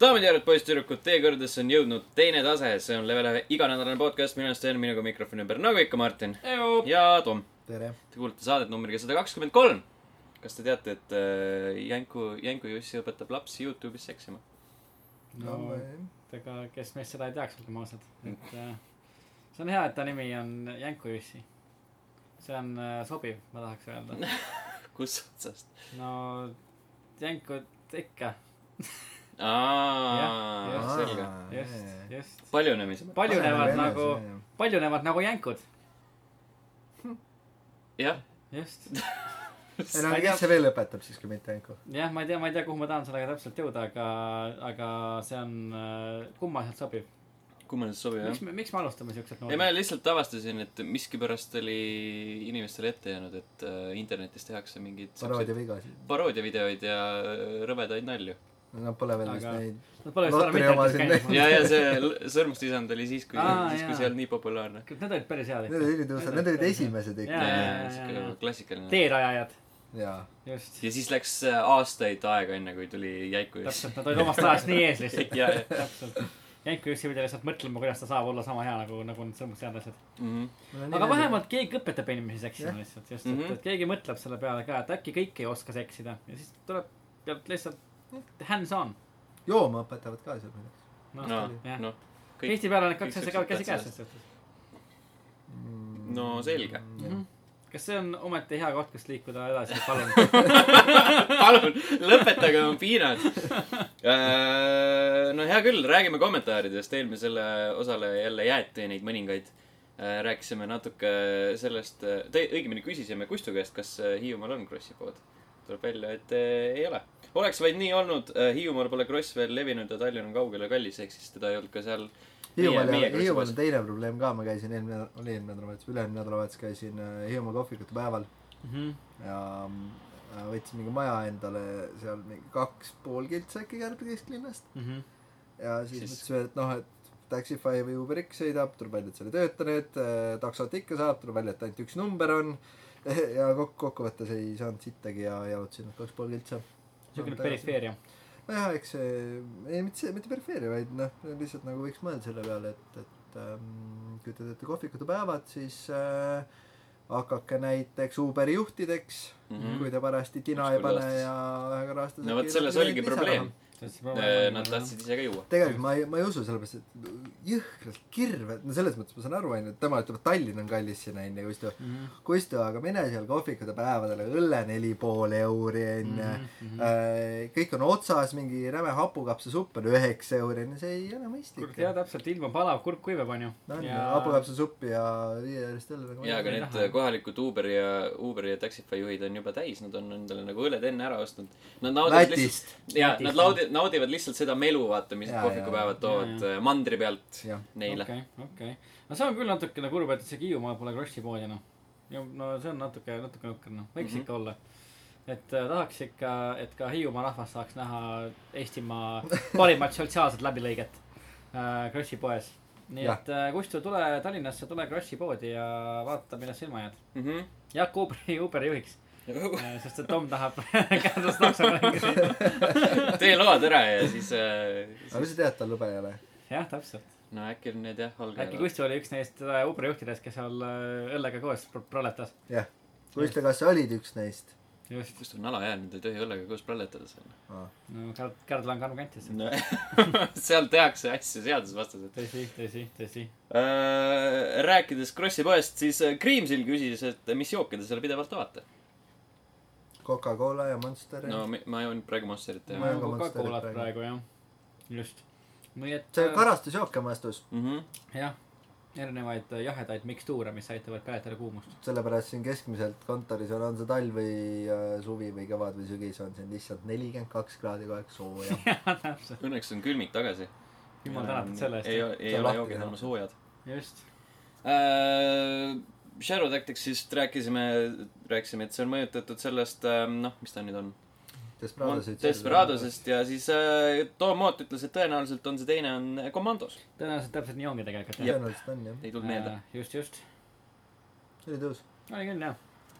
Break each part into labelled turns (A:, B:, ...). A: daamid ja härrad , poisssüdrukud , teie kõrgedesse on jõudnud teine tase , see on level ühe iganädalane podcast , minu arust teen minuga mikrofoni ümber , nagu ikka , Martin ja Tom .
B: tere .
A: Te kuulete saadet numbriga sada kakskümmend kolm . kas te teate , et äh, Jänku , Jänku Jussi õpetab lapsi Youtube'is seksima ?
B: no
C: No et ega kes meist seda ei teaks , olgem ausad , et äh, see on hea , et ta nimi on Jänku Jussi . see on äh, sobiv , ma tahaks öelda .
A: kus otsast ?
C: no Jänkut ikka , Jah,
A: aa ,
C: jah.
A: selge .
C: just , just .
A: paljunemise .
C: paljunevad nagu , paljunevad nagu jänkud ,
A: jah ,
C: just .
B: ei no aga kes see veel õpetab siis , kui mitte Enku ?
C: jah , ma ei tea , ma ei tea , kuhu ma tahan sellega täpselt jõuda , aga , aga see on äh, kummaliselt sobiv .
A: kummaliselt sobib jah
C: miks , miks me alustame siukselt
A: ei , ma
C: noori ?
A: lihtsalt avastasin , et miskipärast oli inimestele ette jäänud , et äh, internetis tehakse mingeid
B: paroodia
A: siukseid
B: vigasid .
A: paroodiavideoid ja äh, rõvedaid nalju .
B: no pole veel vist
C: Aga-
B: neid .
C: Nad pole vist varem
B: Lotari
C: internetis
B: omasid
C: käinud .
A: ja , ja see l- sõrmustisand oli siis , kui
C: Aa, ,
A: siis , kui
C: jaa.
A: see ei olnud nii populaarne .
C: Need olid päris head
B: Need olid
C: ikka .
B: ülitõusvad , need olid esimesed ikka
C: Jaa, jaa, jaa, jaa. .
A: siuke klassikaline .
C: teerajajad ,
B: jaa .
C: just .
A: ja siis läks äh, aastaid aega , enne kui tuli Jäiku üks .
C: täpselt , nad olid omast ajast nii ees lihtsalt .
A: ja , ja .
C: täpselt . Jänku Jussi pidi lihtsalt mõtlema , kuidas ta saab olla sama hea nagu , nagu need sõrmust head asjad . aga . vähemalt keegi õpetab inimesi seksima
B: Jah.
C: lihtsalt , just , et
A: Mhm. ,
C: et keegi mõtleb selle peale ka , et äkki kõik ei oska seksida ja siis tuleb , peab lihtsalt hands on .
B: jooma õpetavad ka seal midagi
C: noh
A: no ,
C: jah .
A: noh , kõik ,
C: tihtipeale need
A: kõik
C: kaks asja
A: siuksed
C: käivad käsikäes
A: tähtsad
C: selles suhtes .
B: Mm.
A: no selge .
B: Jah.
C: kas see on ometi hea koht , kus liikuda edasi , palun ?
A: palun , lõpetage oma piinad . no hea küll , räägime kommentaaridest , eelmisele osale jälle jäeti neid mõningaid . rääkisime natuke sellest , õigemini küsisime Kustu käest , kas äh, Hiiumaal on Krossi pood . tuleb välja , et äh, ei ole . oleks vaid nii olnud , Hiiumaal pole Kross veel levinud ja Tallinn on kaugel ja kallis , ehk siis teda ei olnud ka seal .
B: Hiiumaal
A: meie
B: ja , Hiiumaal
A: krossipoes
B: on . teine probleem ka , ma käisin eelmine , oli eelmine nädalavahetus , üle-eelmine nädalavahetus käisin äh, Hiiumaa kohvikute päeval
C: Mhm,
B: ja äh, võtsin mingi maja endale seal mingi kaks pool kiltsa äkki Kärbi kesklinnast .
C: mhm.
B: ja siis,
A: Siis-
B: siis... mõtlesime , et noh , et Taxify või Uber X sõidab , tuleb välja , et seal ei tööta need , taksot ikka saab , tuleb välja , et ainult üks number on ja kokku , kokkuvõttes ei saanud sittagi ja jalutasin kaks pool kiltsa .
C: niisugune . perifeeria .
B: nojah , eks see , ei mitte see , mitte perifeeria , vaid noh , lihtsalt nagu võiks mõelda selle peale , et , et ähm, kui te teete kohvikute päevad , siis äh, hakake näiteks Uberi juhtideks mm , -hmm. kui te parajasti tina
A: Mhm. Üks
B: ei
A: kord
B: pane
A: aastas.
B: ja ühe korra aastas .
A: no vot , selles oligi probleem . Äh, Nad tahtsid ise ka juua .
B: tegelikult ma ei , ma ei usu , sellepärast et jõhkralt kirve , no selles mõttes ma saan aru , onju , et tema ütleb , et Tallinn on kallis sinna onju , Kustu .
A: Mhm.
B: Kustu , aga mine seal kohvikute päevadele , õlle neli pool euri onju .
A: Mhm,
B: kõik on otsas , mingi räme hapukapsasupp on üheksa euri , no see ei ole mõistlik .
C: jaa , täpselt , ilm on palav , kurk kuivab , onju .
B: no on ju , hapukapsasupp ja viie eurist õlle nagu
A: jaa , aga
C: ei
A: need
C: taha.
A: kohalikud Uberi ja , Uberi ja Taxify juhid on juba täis , nad on endale nagu õled enne ära ostnud . Nad naudivad lihtsalt ,
B: Lätist .
A: jaa ,
C: Lätist,
A: nad
C: jah.
A: laudi- , naudivad lihtsalt seda melu , vaata , mis
B: Jaa,
A: kohvikupäevad toovad äh, mandri pealt
B: jah ,
A: neile .
C: okei , okei . no see on küll natukene kurb , et isegi Hiiumaal pole krossipoodi noh . ja no see on natuke , natuke nukker noh , võiks mm
A: Mhm.
C: -hmm. ikka olla . et äh, tahaks ikka , et ka Hiiumaa rahvas saaks näha Eestimaa parimat sotsiaalset läbilõiget äh, krossipoes . nii ja.
B: Jah.
C: et äh, Kustu , tule Tallinnasse , tule krossipoodi ja vaata , millest silma jääd .
A: Mhm.
C: jah , Uberi , Uberi juhiks , sest et Tom tahab käendust taksoga .
A: tee load ära ja siis, äh,
B: aga
A: siis
B: sa tead , tal lube ei ole .
C: jah , täpselt .
A: no äkki on need jah ,
C: äkki
A: algajad .
C: Kustu oli üks neist äh, Uberi juhtidest , kes seal äh, õllega koos pro- proletas .
B: jah . Kustu , kas sa olid üks neist ?
C: just .
A: kus on alaealine , ta ei tohi õllega koos pralletada seal .
C: no Kärt , Kärdla on Kärnu kantis .
A: seal tehakse asju seadusvastaselt .
C: tõsi , tõsi , tõsi .
A: Äh, rääkides Krossi poest , siis äh, Kriimsil küsis , et mis jooke te seal pidevalt avate .
B: Coca-Cola ja Monster ja
A: no mi- ma joon praegu Monsterit ja
B: Ma-
C: nagu
B: olen ka
C: ka
B: Monsterit
C: kuulad
B: praegu.
C: praegu jah , just . nii et .
B: see . karastusjook on vastus ,
A: Mhm.
C: jah , erinevaid äh, jahedaid mikstuure , mis aitavad peletada kuumust .
B: sellepärast siin keskmiselt kontoris on , on see talv või äh, suvi või kevad või sügis , on siin lihtsalt nelikümmend kaks kraadi kogu aeg sooja .
C: täpselt ,
A: õnneks on külmid tagasi .
C: jumal tänatud selle
A: ei
C: eest .
A: ole , ei
B: See on
A: ole
B: lahti
A: joogid
B: tänatud.
A: enam soojad
C: just ,
A: äh, . Shadow Tacticsist rääkisime , rääkisime , et see on mõjutatud sellest äh, , noh , mis ta nüüd on . Desperadosest ja siis äh, Tom Moot ütles , et tõenäoliselt on see teine on äh, Commandos .
C: tõenäoliselt täpselt nii ongi tegelikult .
B: tõenäoliselt on jah ,
A: ei tulnud meelde .
C: just , just .
B: see oli tõus .
C: oli küll jah ,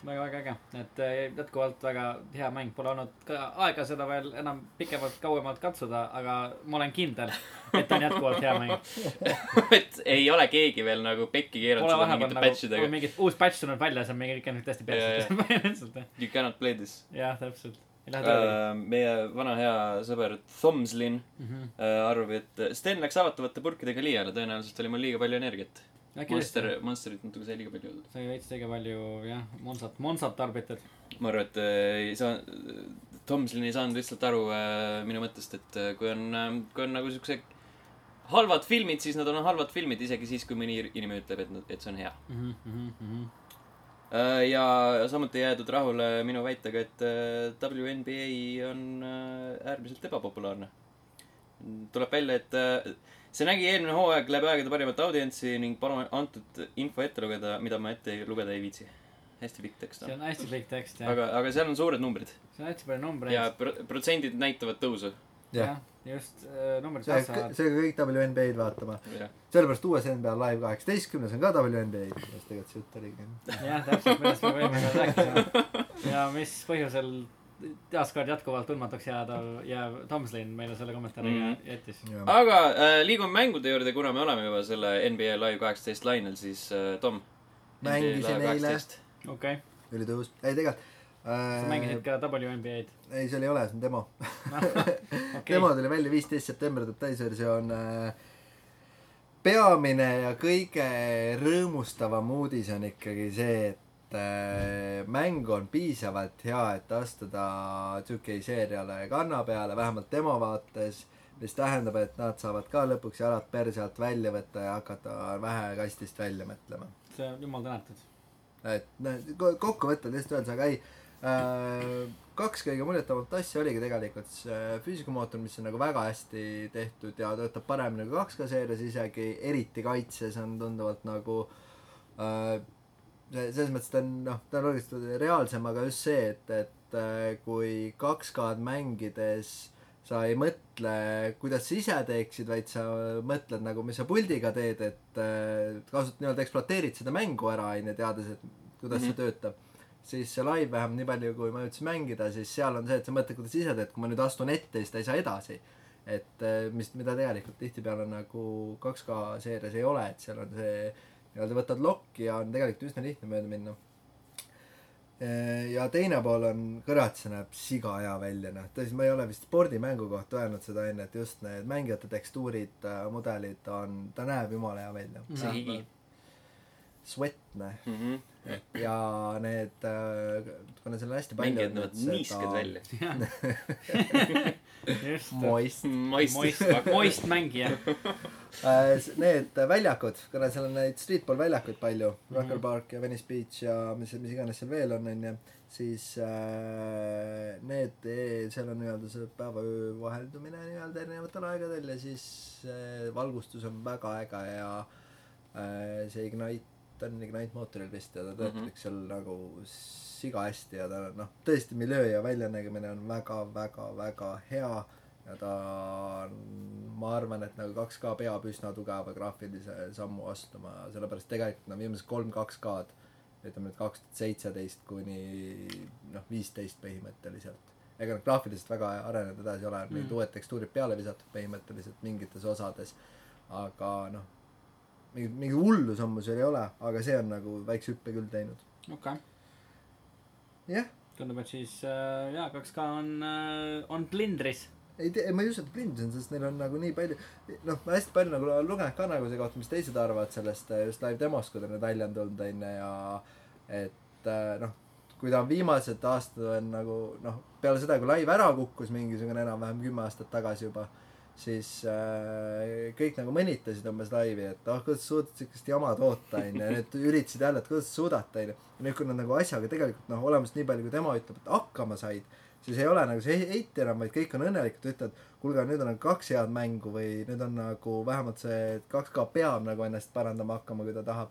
C: väga väga äge et äh, jätkuvalt väga hea mäng pole olnud ka aega seda veel enam pikemalt kauemalt katsuda aga ma olen kindel et ta on jätkuvalt hea mäng
A: et ei ole keegi veel nagu pekki keeranud
C: pole
A: seda
C: vahepeal
A: mingite
C: nagu
A: patchidega
C: on . mingi uus patch tulnud välja see on mingi ikka nüüd täiesti peatselt
A: You cannot play this
C: jah täpselt ei lähe tööle
A: uh, . meie vana hea sõber Thomslin
C: Mhm.
A: uh, arvab , et Sten läks avatavate purkidega liiale , tõenäoliselt oli mul liiga palju energiat .
C: äkki tõesti
A: Monster , Monsterit natuke sai liiga palju juurde .
C: sai veits liiga palju jah monsat monsat tarbitad
A: ma arvan , et uh, ei saa , Thomslin ei saanud lihtsalt aru uh, minu mõttest , et uh, kui on uh, , kui on nagu siukse halvad filmid , siis nad on halvad filmid , isegi siis , kui mõni inimene ütleb , et , et see on hea .
C: mhmh mhmh mhmh
A: Äh, ja samuti ei jäädud rahule minu väitega , et äh, WNBA on äh, äärmiselt ebapopulaarne . tuleb välja , et äh, see nägi eelmine hooaeg läbi aegade parimat audientsi ning palume antud info ette lugeda , mida ma ette lugeda ei viitsi . hästi pikk tekst noh.
C: see
A: on .
C: on hästi pikk tekst jah
A: aga , aga seal on suured numbrid
C: see on hästi palju numbreid
A: ja pro- , protsendid näitavad tõusu .
B: jah ,
C: jah just äh, numbrid
B: seega
C: kasvavad
B: seega kõik WNBA-d vaatama .
A: jah ,
B: sellepärast uues NBA Live kaheksateistkümnes on ka WNBA , millest tegelikult see jutt oligi .
C: jah , täpselt , millest me võime veel rääkida . ja mis põhjusel taaskord jätkuvalt tundmatuks jääda ja Tomslin meile selle kommentaari mm
A: Mhm.
C: -hmm. jättis .
A: aga äh, liigume mängude juurde , kuna me oleme juba selle NBA Live kaheksateist lainel , siis äh, Tom .
B: mängisin eile ,.
C: okei okay. ,
B: ülitõus , ei tegelikult
C: sa mängisid
B: äh, .
C: ka WNBA-d .
B: ei , seal ei ole , see on demo okay. .
C: okei
B: demo , tuli välja viisteist september detailsversioon äh, . peamine ja kõige rõõmustavam uudis on ikkagi see , et äh, mäng on piisavalt hea , et astuda 2K seeriale kanna peale , vähemalt demo vaates mis tähendab , et nad saavad ka lõpuks jalad perse alt välja võtta ja hakata vähe kastist välja mõtlema .
C: see on jumal tänatud .
B: et noh , kokkuvõtted lihtsalt öeldes , aga ei äh, , kaks kõige muljetavat asja oligi tegelikult see äh, füüsikamootor , mis on nagu väga hästi tehtud ja töötab paremini kui 2K seerias isegi , eriti kaitses on tunduvalt nagu äh, see- selles mõttes ta on noh , ta on loogilisest reaalsem , aga just see , et , et äh, kui 2K-d mängides sa ei mõtle , kuidas sa ise teeksid , vaid sa mõtled nagu , mis sa puldiga teed , et äh, kasut- , nii-öelda ekspluateerid seda mängu ära , on ju , teades , et
A: Mhm.
B: kuidas mm -hmm. see töötab . siis see live vähem , nii palju kui ma jõudsin mängida , siis seal on see , et sa mõtled , kuidas ise teed , kui ma nüüd astun ette , siis ta ei saa edasi . et äh, mis , mida tegelikult tihtipeale nagu 2K seerias ei ole , et seal on see nii-öelda võtad lokki ja on tegelikult üsna lihtne mööda minna . Äh, ja teine pool on , kõrat , see näeb siga hea välja , noh , tõsi , ma ei ole vist spordimängu kohta öelnud seda enne , et just need mängijate tekstuurid , mudelid on , ta näeb jumala hea välja .
A: see higi .
B: Sweat , noh ,
A: Mhm.
B: ja need , kuna seal on hästi palju
A: mängijad näevad niisked välja .
C: just .
B: moist ,
A: moist
C: moist ., moist mängija .
B: Äh, need väljakud , kuna seal on neid streetball väljakuid palju mm , -hmm. Rucker Park ja Venice Beach ja mis , mis iganes seal veel on , onju , siis äh, need , seal on nii-öelda see päeva-öö vaheldumine nii-öelda erinevatel aegadel ja siis äh, valgustus on väga äge ja äh, see Ignite , ta on Ignite mootoril vist ja ta töötab
A: Mhm.
B: mm -hmm. seal nagu siga hästi ja ta on noh , tõesti miljöö ja väljanägemine on väga-väga-väga hea ja ta on , ma arvan , et nagu 2K peab üsna tugeva graafilise sammu astuma , sellepärast tegelikult no viimased kolm 2K-d , ütleme nüüd kaks tuhat seitseteist kuni noh , viisteist põhimõtteliselt . ega nad graafiliselt väga arenenud edasi ei ole , mingid
C: Mm.
B: uued tekstuurid peale visatud põhimõtteliselt mingites osades , aga noh , mingit , mingit hullu sammu seal ei ole , aga see on nagu väikse hüppe küll teinud .
C: okei okay. ,
B: jah ,
C: tundub , et siis äh, jaa , 2K on äh, , on plindris .
B: ei tea , ma ei usu , et blind on , sest neil on nagu nii palju , noh , hästi palju nagu olen lugenud ka nagu selle kohta , mis teised arvavad sellest äh, just live demost , kui ta nüüd välja on tulnud , on ju , ja et äh, noh , kui ta on viimased aastad on nagu noh , peale seda , kui live ära kukkus mingisugune enam-vähem kümme aastat tagasi juba , siis äh, kõik nagu mõnitasid umbes laivi , et ah , kuidas sa suudad siukest jama toota , onju , ja nüüd üritasid jälle , et kuidas sa suudad , onju . ja nüüd , kui nad nagu asjaga tegelikult noh , olemas nii palju , kui tema ütleb , et hakkama said , siis ei ole nagu see he- heit enam , vaid kõik on õnnelikud , ütlevad , kuulge , nüüd on nagu kaks head mängu või nüüd on nagu vähemalt see , et 2K peab nagu ennast parandama hakkama , kui ta tahab .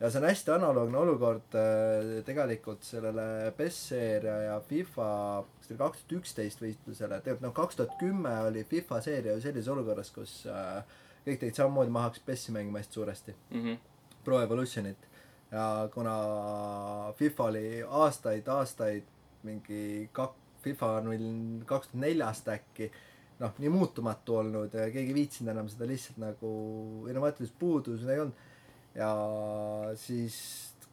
B: ja see on hästi analoogne olukord äh, tegelikult sellele PES seeria ja FIFA , kas ta oli kaks tuhat üksteist võistlusele , tegelikult noh , kaks tuhat kümme oli FIFA seeria ju sellises olukorras , Mhm.
A: Mhm.
B: kus äh, kõik tegid samamoodi , ma hakkasin PES-i mängima hästi suuresti , Pro Evolutionit . ja kuna FIFA oli aastaid-aastaid mingi kak- , FIFA null kaks tuhat neljast äkki noh , nii muutumatu olnud ja keegi ei viitsinud enam seda lihtsalt nagu innovaatilisust puudus ei olnud ja siis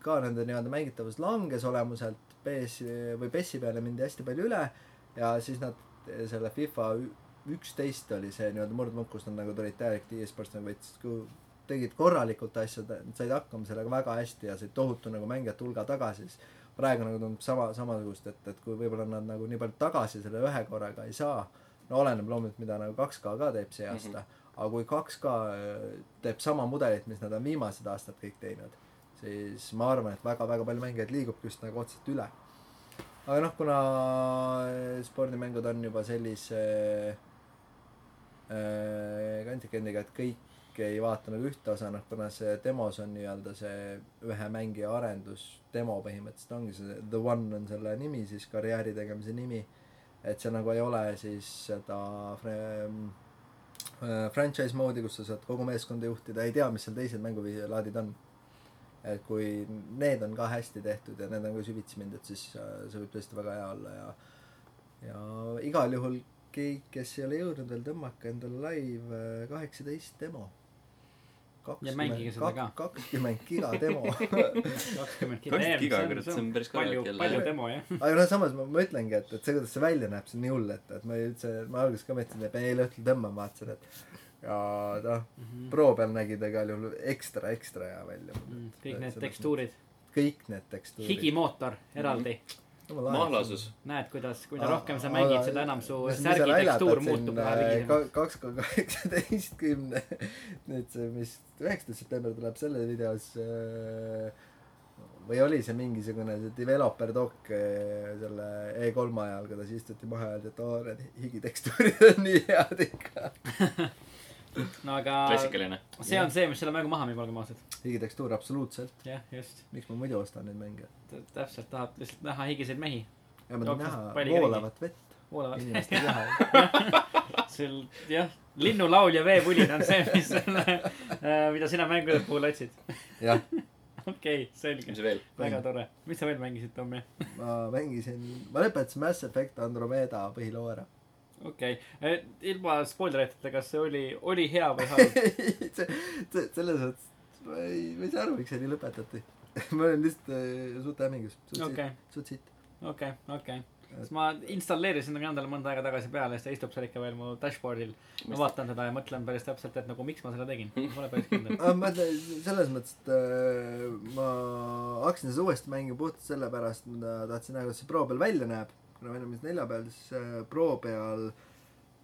B: ka nende nii-öelda mängitavus langes olemuselt PS või PES-i peale mindi hästi palju üle ja siis nad selle FIFA ü- üksteist oli see nii-öelda murdmunk , kus nad nagu tulid täielik e-sports nagu võtsid , tegid korralikult asja , said hakkama sellega väga hästi ja said tohutu nagu mängijate hulga tagasi , siis praegu nagu tundub sama , samasugust , et , et kui võib-olla nad nagu nii palju tagasi selle ühe korraga ei saa , no oleneb loomulikult , mida nagu 2K ka teeb see aasta mm , -hmm. aga kui 2K teeb sama mudelit , mis nad on viimased aastad kõik teinud , siis ma arvan , et väga-väga palju mängijaid liigubki just nagu otseselt üle . aga noh , kuna eh, spordimängud on juba sellise äh, kandikendiga , et kõik ei vaata nagu ühte osa , noh kuna see demos on nii-öelda see ühe mängija arendus , demo põhimõtteliselt ongi see The One on selle nimi siis karjääri tegemise nimi . et seal nagu ei ole siis seda fra- äh, franchise moodi , kus sa saad kogu meeskonda juhtida , ei tea , mis seal teised mänguviisilaadid on . et kui need on ka hästi tehtud ja need on ka süvitsi mindud , siis äh, see võib tõesti väga hea olla ja ja igal juhul kõik , kes ei ole jõudnud veel , tõmmake endale live äh, kaheksateist demo .
C: mängige seda ka.
B: kakskümmend giga demo .
C: kakskümmend
A: kakskümmend giga , kurat , see on päris
C: palju
A: korralik ,
C: palju
A: jälle .
C: demo jah .
B: aga noh , samas ma, ma ütlengi , et , et see , kuidas see välja näeb , see on nii hull , et , et ma ei üldse , ma alguses ka mõtlesin , et eile õhtul tõmban , vaatasin , et ja noh ,
C: Mhm.
B: proo peal nägid igal juhul ekstra , ekstra hea välja .
A: Mm.
C: Mm, kõik need . tekstuurid ,
B: kõik need tekstuurid .
C: higimootor eraldi .
A: mahlasus .
C: näed , kuidas , mida rohkem sa mängid , seda enam su särgi tekstuur muutub
B: äh,
C: kohe higisemaks .
B: kaks koma kaheksateistkümne , nüüd see , mis üheksandal septembril tuleb selles videos äh, või oli see mingisugune see developer doc äh, selle E3 ajal , kuidas istuti maha ja öeldi , et oo , need higitekstuurid on nii head ikka .
C: no aga
A: klassikaline .
C: see on see , mis selle mängu maha müüb , olgem ausad .
B: higitekstuur absoluutselt ,
C: jah , just .
B: miks ma muidu ostan neid mänge ?
C: täpselt , tahad lihtsalt näha higiseid mehi
B: ja ma
C: Jookseb
B: tahan näha
C: palliga
B: voolavat vett
C: voolavat .
B: inimeste kehal .
C: sul jah , linnulaul ja veevulin on see , mis selle , mida sina mängude puhul otsid .
B: jah ,
C: okei , selge
A: mis , veel ?
C: väga tore . mis sa veel mängisid , Tommy ?
B: ma mängisin , ma lõpetasin Mass Effect Andromeda põhiloo ära .
C: okei okay. , ilma spoileriteta , kas see oli , oli hea või halb ?
B: ei , see , see , selles mõttes , ma ei , ma ei saa aru , miks see nii lõpetati . ma olen lihtsalt äh, suht hämmingus , suht
C: Okei.
B: sitt , suht sitt .
C: okei , okei . siis ma installeerisin nagu endale mõnda aega tagasi peale , siis ta istub seal ikka veel mu dashboard'il . ma vaatan teda ja mõtlen päris täpselt , et nagu miks ma seda tegin . ma pole päris kindel .
B: aga ma ütlen , selles mõttes , et äh, ma hakkasin seda uuesti mängima puhtalt sellepärast , ma tahtsin näha , kuidas see Pro peal välja näeb . kuna meil on vist nelja peal , siis äh, Pro peal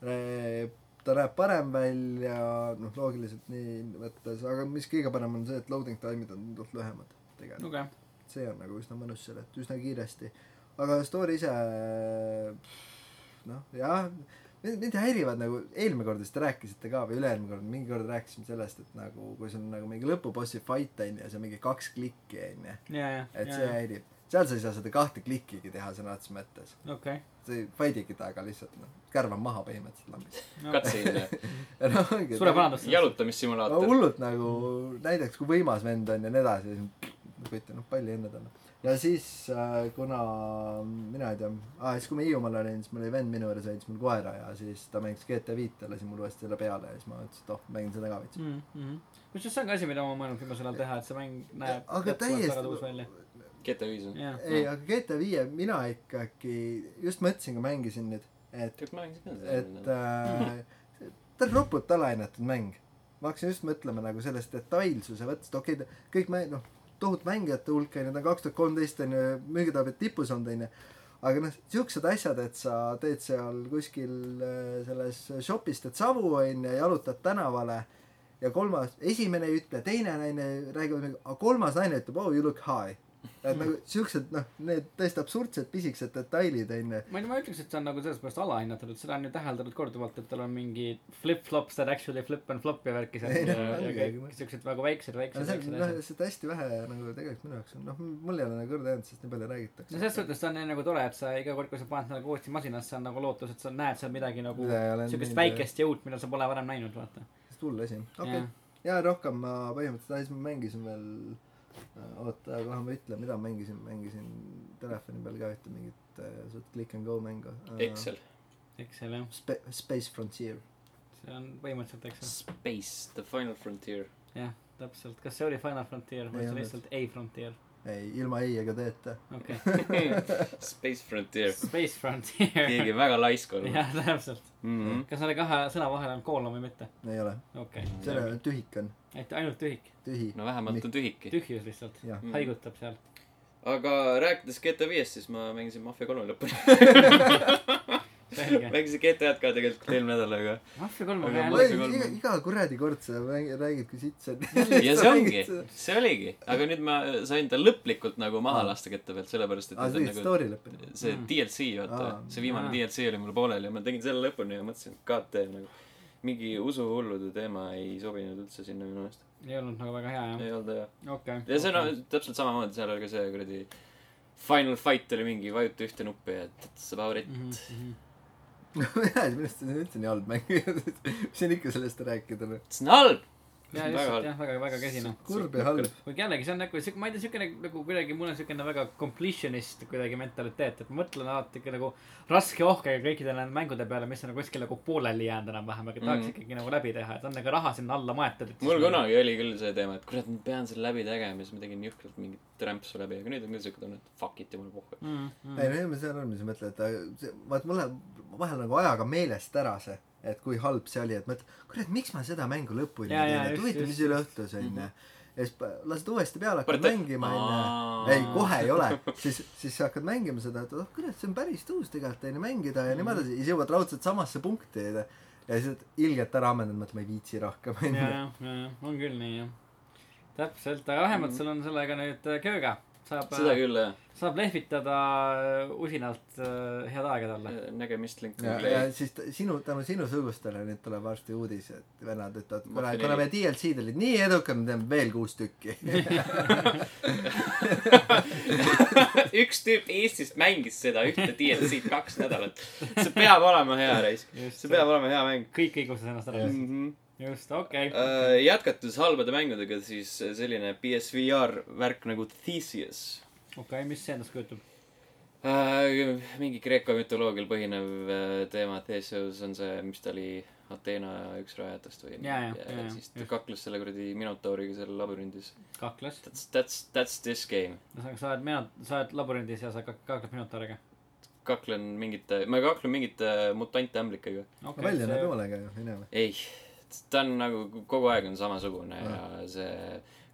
B: äh, ta näeb parem välja , noh , loogiliselt nii võttes , aga mis kõige parem on see , et loading time'id on tunduvalt lühemad tegelikult .
C: okei ,
B: see on nagu üsna mõnus seal , et üsna kiiresti . aga story ise , noh , jah , mind mind häirivad nagu , eelmine kord vist rääkisite ka või üle-eelmine kord , mingi kord rääkisime sellest , et nagu kui sul on nagu mingi lõpubossi fight on ju , see on mingi kaks klikki on ju ,
C: ja ,
B: et
C: ja ,
B: see
C: ja ,
B: häirib . seal sa ei saa seda kahte klikkigi teha sõna otseses mõttes .
C: okei .
B: sa ei fight'igi taga lihtsalt noh , kärvan maha põhimõtteliselt lambist .
A: katseline .
B: ja noh , ongi .
C: suure parandust .
B: no
A: jalutamissimulaator .
B: hullult nagu näiteks kui võimas vend on ja nii edasi siis võite noh palli enne talle ja siis äh, kuna mina ei tea aa siis kui ma Hiiumaal olin siis mul oli vend minu juures ja andis mulle koera ja siis ta mängis GTA viite lasi mul uuesti selle peale ja siis ma ütlesin et oh mängin seda ka veits
C: Mm, kusjuures see on ka asi , mida ma olen mõelnud viimasel ajal teha , et see mäng näeb
B: aga
C: väga tõus
B: täiesti
C: välja .
A: GTA viis on .
C: jah ,
B: ei aga GTA viie mina ikkagi just mõtlesin kui mängisin nüüd et
A: tead , ma mängisin ka
B: et
A: seda .
B: äh, ta on ropult alahindlatud mäng . ma hakkasin just mõtlema nagu sellest detailsuse mõttest , okei okay, , kõik me noh , tohutu mängijate hulk on ju , ta on kaks tuhat kolmteist on ju , müügitarbijad tipus olnud on ju . aga noh , siuksed asjad , et sa teed seal kuskil äh, selles shopis teed savu on ju , jalutad tänavale ja kolmas , esimene ei ütle , teine naine räägib , aga kolmas naine ütleb oh you look high . et nagu siuksed noh , need täiesti absurdsed pisikesed detailid on ju .
C: ma ei , ma ütleks , et see on nagu selles mõttes alahinnatud , et seda on ju täheldanud korduvalt , et tal on mingi flip-flops that actually flip and flop ja värki seal
B: Ei,
C: ja, ja
B: no, ongi.
C: kõik siuksed väga väiksed ,
B: aga
C: väiksed ,
B: see on
C: väiksed
B: noh
C: asjad .
B: seda hästi vähe nagu tegelikult minu jaoks on noh m- mul ei ole nagu kõrda jäänud sest nii palju räägitakse
C: no selles suhtes on ju nagu tore , et sa iga kord , kui sa paned nagu uuesti masinasse , on nagu lootus , et sa näed seal midagi nagu
B: Mida ei ole
C: siukest
B: näinud,
C: väikest jõud , mida sa pole varem näinud , vaata .
B: sest hull asi okei okay. ja rohkem ma põhimõtteliselt ah, siis ma mängisin veel oota , kohe ma ütlen , mida ma mängisin , mängisin telefoni peal ka ühte mingit äh, suht click and go mängu äh,
A: Excel .
C: Excel jah ,
B: Spe- , Space Frontier .
C: see on põhimõtteliselt Excel ,
A: Space , The Final Frontier .
C: jah , täpselt , kas see oli Final Frontier või
B: Ei
C: see
B: olnud.
C: lihtsalt A Frontier ,
B: ei , ilma ei ega teeta .
C: okei ,
A: Space Frontier .
C: Space Frontier ,
A: keegi väga laisk olnud .
C: jah , täpselt ,
A: Mhm.
C: kas nende kahe sõna vahel on koolon või mitte ,
B: ei ole ,
C: okei
B: sellel on tühik on ,
C: okay. , et ainult tühik ,
B: tühi .
A: no vähemalt on tühiki .
C: tühjus lihtsalt
B: jah ,
A: Mm.
C: haigutab seal ,
A: aga rääkides GTA viiest , siis ma mängisin Mafia kolme lõpuni .
C: selge ,
A: mängisin GTA-d ka tegelikult eelmine nädal , aga
C: Mafia kolm
A: Aga
C: on
A: ma
C: ka
B: ma
A: Mafia
B: ei ,
A: kolm
B: iga ,
A: on-
B: iga kuradi kord sa mängi- räägid , kui sitt see
A: ja see ongi , see oligi , aga nüüd ma sain ta lõplikult nagu maha
B: Aa.
A: lasta kette pealt , sellepärast et
B: aa ,
A: nüüd
B: sa
A: on
B: tegid
A: nagu
B: story lõpuni ?
A: see
C: Mm.
A: DLC , vaata
B: Aa. ,
A: see viimane
C: Aa.
A: DLC oli mul pooleli ja ma tegin selle lõpuni ja mõtlesin , et KT nagu mingi usuhullude teema ei sobinud üldse sinna minu meelest .
C: ei olnud nagu väga hea jah ,
A: ei olnud hea .
C: okei
A: ja see on no, täpselt samamoodi , seal oli ka see kuradi Final Fight oli mingi , vajuta ühte nuppu ja that's about it .
C: Mhm,
B: mina ei , minu arust see on üldse nii halb mäng . mis siin ikka sellest rääkida , noh .
A: see on halb .
C: ja lihtsalt jah , väga , väga kesine .
B: kurb ja halb .
C: kuigi jällegi , see on nagu siuke , ma ei tea , siukene nagu kuidagi , mul on siukene väga completionist kuidagi mentaliteet , et ma mõtlen alati ikka nagu raske ohkega kõikide nende mängude peale , mis on kuskil nagu pooleli jäänud enam-vähem , aga tahaks
A: Mhm.
C: ikkagi nagu läbi teha , et on nagu raha sinna alla maetud .
A: mul . kunagi oli küll see teema , et kurat , ma pean selle läbi tegema ja siis ma tegin jõhkralt mingit rämpsu läbi , aga nüüd on küll siuke tunne , et fuck it ja mul puhkab .
C: Mm,
B: ei , no ma saan aru , mis sa mõtled , et aga see- vaat mul läheb vahel nagu ajaga meelest ära see , et kui halb see oli , et mõtled , kurat , miks ma seda mängu lõpuni
C: Jaa,
B: ei
C: jaa,
B: teinud , et
C: just,
B: huvitav , mis
C: just, Mhm.
B: üle õhtus onju . ja siis pa- lased uuesti peale , hakkad
A: Pärast-
B: mängima onju .
A: Aa.
B: ei , kohe ei ole , siis , siis sa hakkad mängima seda , et oh kurat , see on päris tõus tegelikult onju mängida ja
C: Mhm.
B: niimoodi edasi , siis jõuad raudselt samasse punkti onju . ja siis oled ilgelt ära ammendanud , mõtled , ma ei viitsi rohkem
C: ja ,
B: onju .
C: ja , ja , on küll nii jah . täpselt , aga vähemalt sul on sellega nüüd äh, kööga . saab ,
A: Mhm. seda küll jah ,
C: saab lehvitada äh, usinalt äh, head aega talle .
A: nägemist
B: ja
A: Lincoln ,
B: ja
A: Clay .
B: siis ta- sinu , tänu sinusugustele nüüd tuleb varsti uudis , et vennad ütlevad , kuule ,
A: Mafia
B: kuna
A: neli.
B: meie DLC-d olid nii edukad , me teeme veel kuus tükki
A: üks tüüp Eestist mängis seda ühte DLC-d kaks nädalat . see peab olema hea reis ,
C: just
A: see , peab olema hea mäng
C: kõik õigustas ennast ära .
A: mm . -hmm.
C: just , okei
A: Äh, jätkates halbade mängudega , siis selline PSVR värk nagu Theseus .
C: okei , mis see endast kujutab ?
A: Äh, mingi Kreeka mütoloogial põhinev äh, teema , Theseus on see , mis ta oli , Ateena üks rajatest või
C: Jaa, jaa, jaa, jaa,
A: siis ta
C: just.
A: kakles selle kuradi minotauriga seal labürindis .
C: kaklas .
A: That's , that's , that's this game .
C: ühesõnaga , sa oled mina , sa oled labürindis ja sa kak- , kakled minotauriga .
A: kaklen mingite , ma kaklen mingite mutantämblikega .
B: okay, . välja näeb jumala äge ju , minema .
A: ei , ta on nagu kogu aeg on samasugune ja,
C: Ah.
A: ja see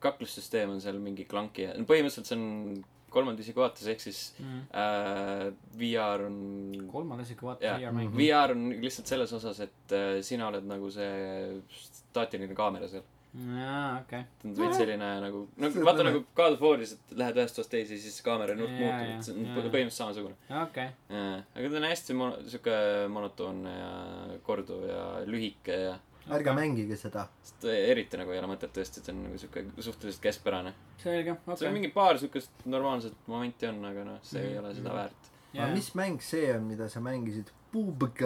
A: kaklussüsteem on seal mingi klanki ja no põhimõtteliselt see on kolmanda isiku vaates , ehk siis
C: mm. .
A: äh, VR on
C: kolmanda isiku vaata
A: Jaa.
C: yeah. VR mäng .
A: VR on lihtsalt selles osas , et äh, sina oled nagu see staatiline kaamera seal .
C: jaa , okei .
A: ta on veits selline nagu ,
B: See
A: no
B: on
A: vaata
B: põnev.
A: nagu God of War'is , et lähed ühest otsast teise , siis kaamera nurk
C: Jaa,
A: muutub ,
C: jaa,
A: et see on
C: jaa,
A: põ-
C: jaa.
A: põhimõtteliselt samasugune .
C: okei .
A: aga ta on hästi mono- , sihuke monotoonne ja korduv ja lühike ja
B: ärge mängige seda .
A: sest eriti nagu ei ole mõtet tõesti , see on nagu sihuke suhteliselt keskpärane okay. .
C: selge ,
A: seal
C: okei .
A: mingi paar siukest normaalset momenti on , aga noh , see mm -hmm. ei
C: Mhm,
A: ole
C: mhm.
A: seda väärt .
B: aga mis mäng see on , mida sa mängisid ? Pubg .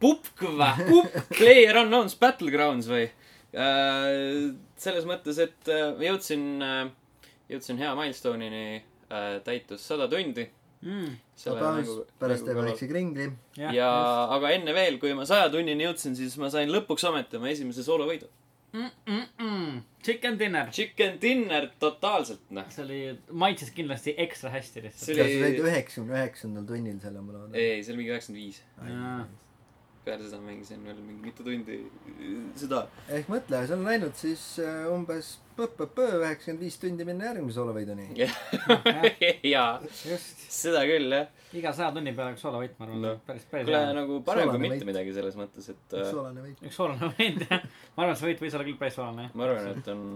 A: pupk või ? pupk , Player Unknown's Battlegrounds või ? selles mõttes , et äh, ma jõudsin , jõudsin hea milstonini , täitus sada tundi .
C: Mm.
B: pärast teeme väikse kringli .
A: ja , aga enne veel , kui ma saja tunnini jõudsin , siis ma sain lõpuks ometi oma esimese soolovõidu .
C: Mm, Chicken dinner .
A: Chicken dinner totaalselt , noh .
C: see oli , maitses kindlasti ekstra hästi
A: See
C: lihtsalt .
B: kas
A: oli-
B: sa said üheksakümne üheksandal tunnil selle , ma loodan ?
A: ei , see oli mingi üheksakümmend viis .
C: jaa.
A: peale seda mängisin veel mingi mitu tundi äh, seda .
B: ehk mõtle , sul on läinud siis äh, umbes üheksakümmend viis tundi minna järgmise Olaveiduni .
A: jaa ,
C: just ,
A: seda küll , jah .
C: iga saja tunni peale üks soolavõit , ma arvan
A: No.
C: no. , päris , päris
A: kuule ,
C: hea .
A: nagu parem kui
B: Soolane
A: mitte
B: võit.
A: midagi selles mõttes , et äh,
B: soolane veid .
C: üks soolane võit , jah . ma arvan , et see võit võis olla küll päris soolane , jah .
A: ma arvan , et on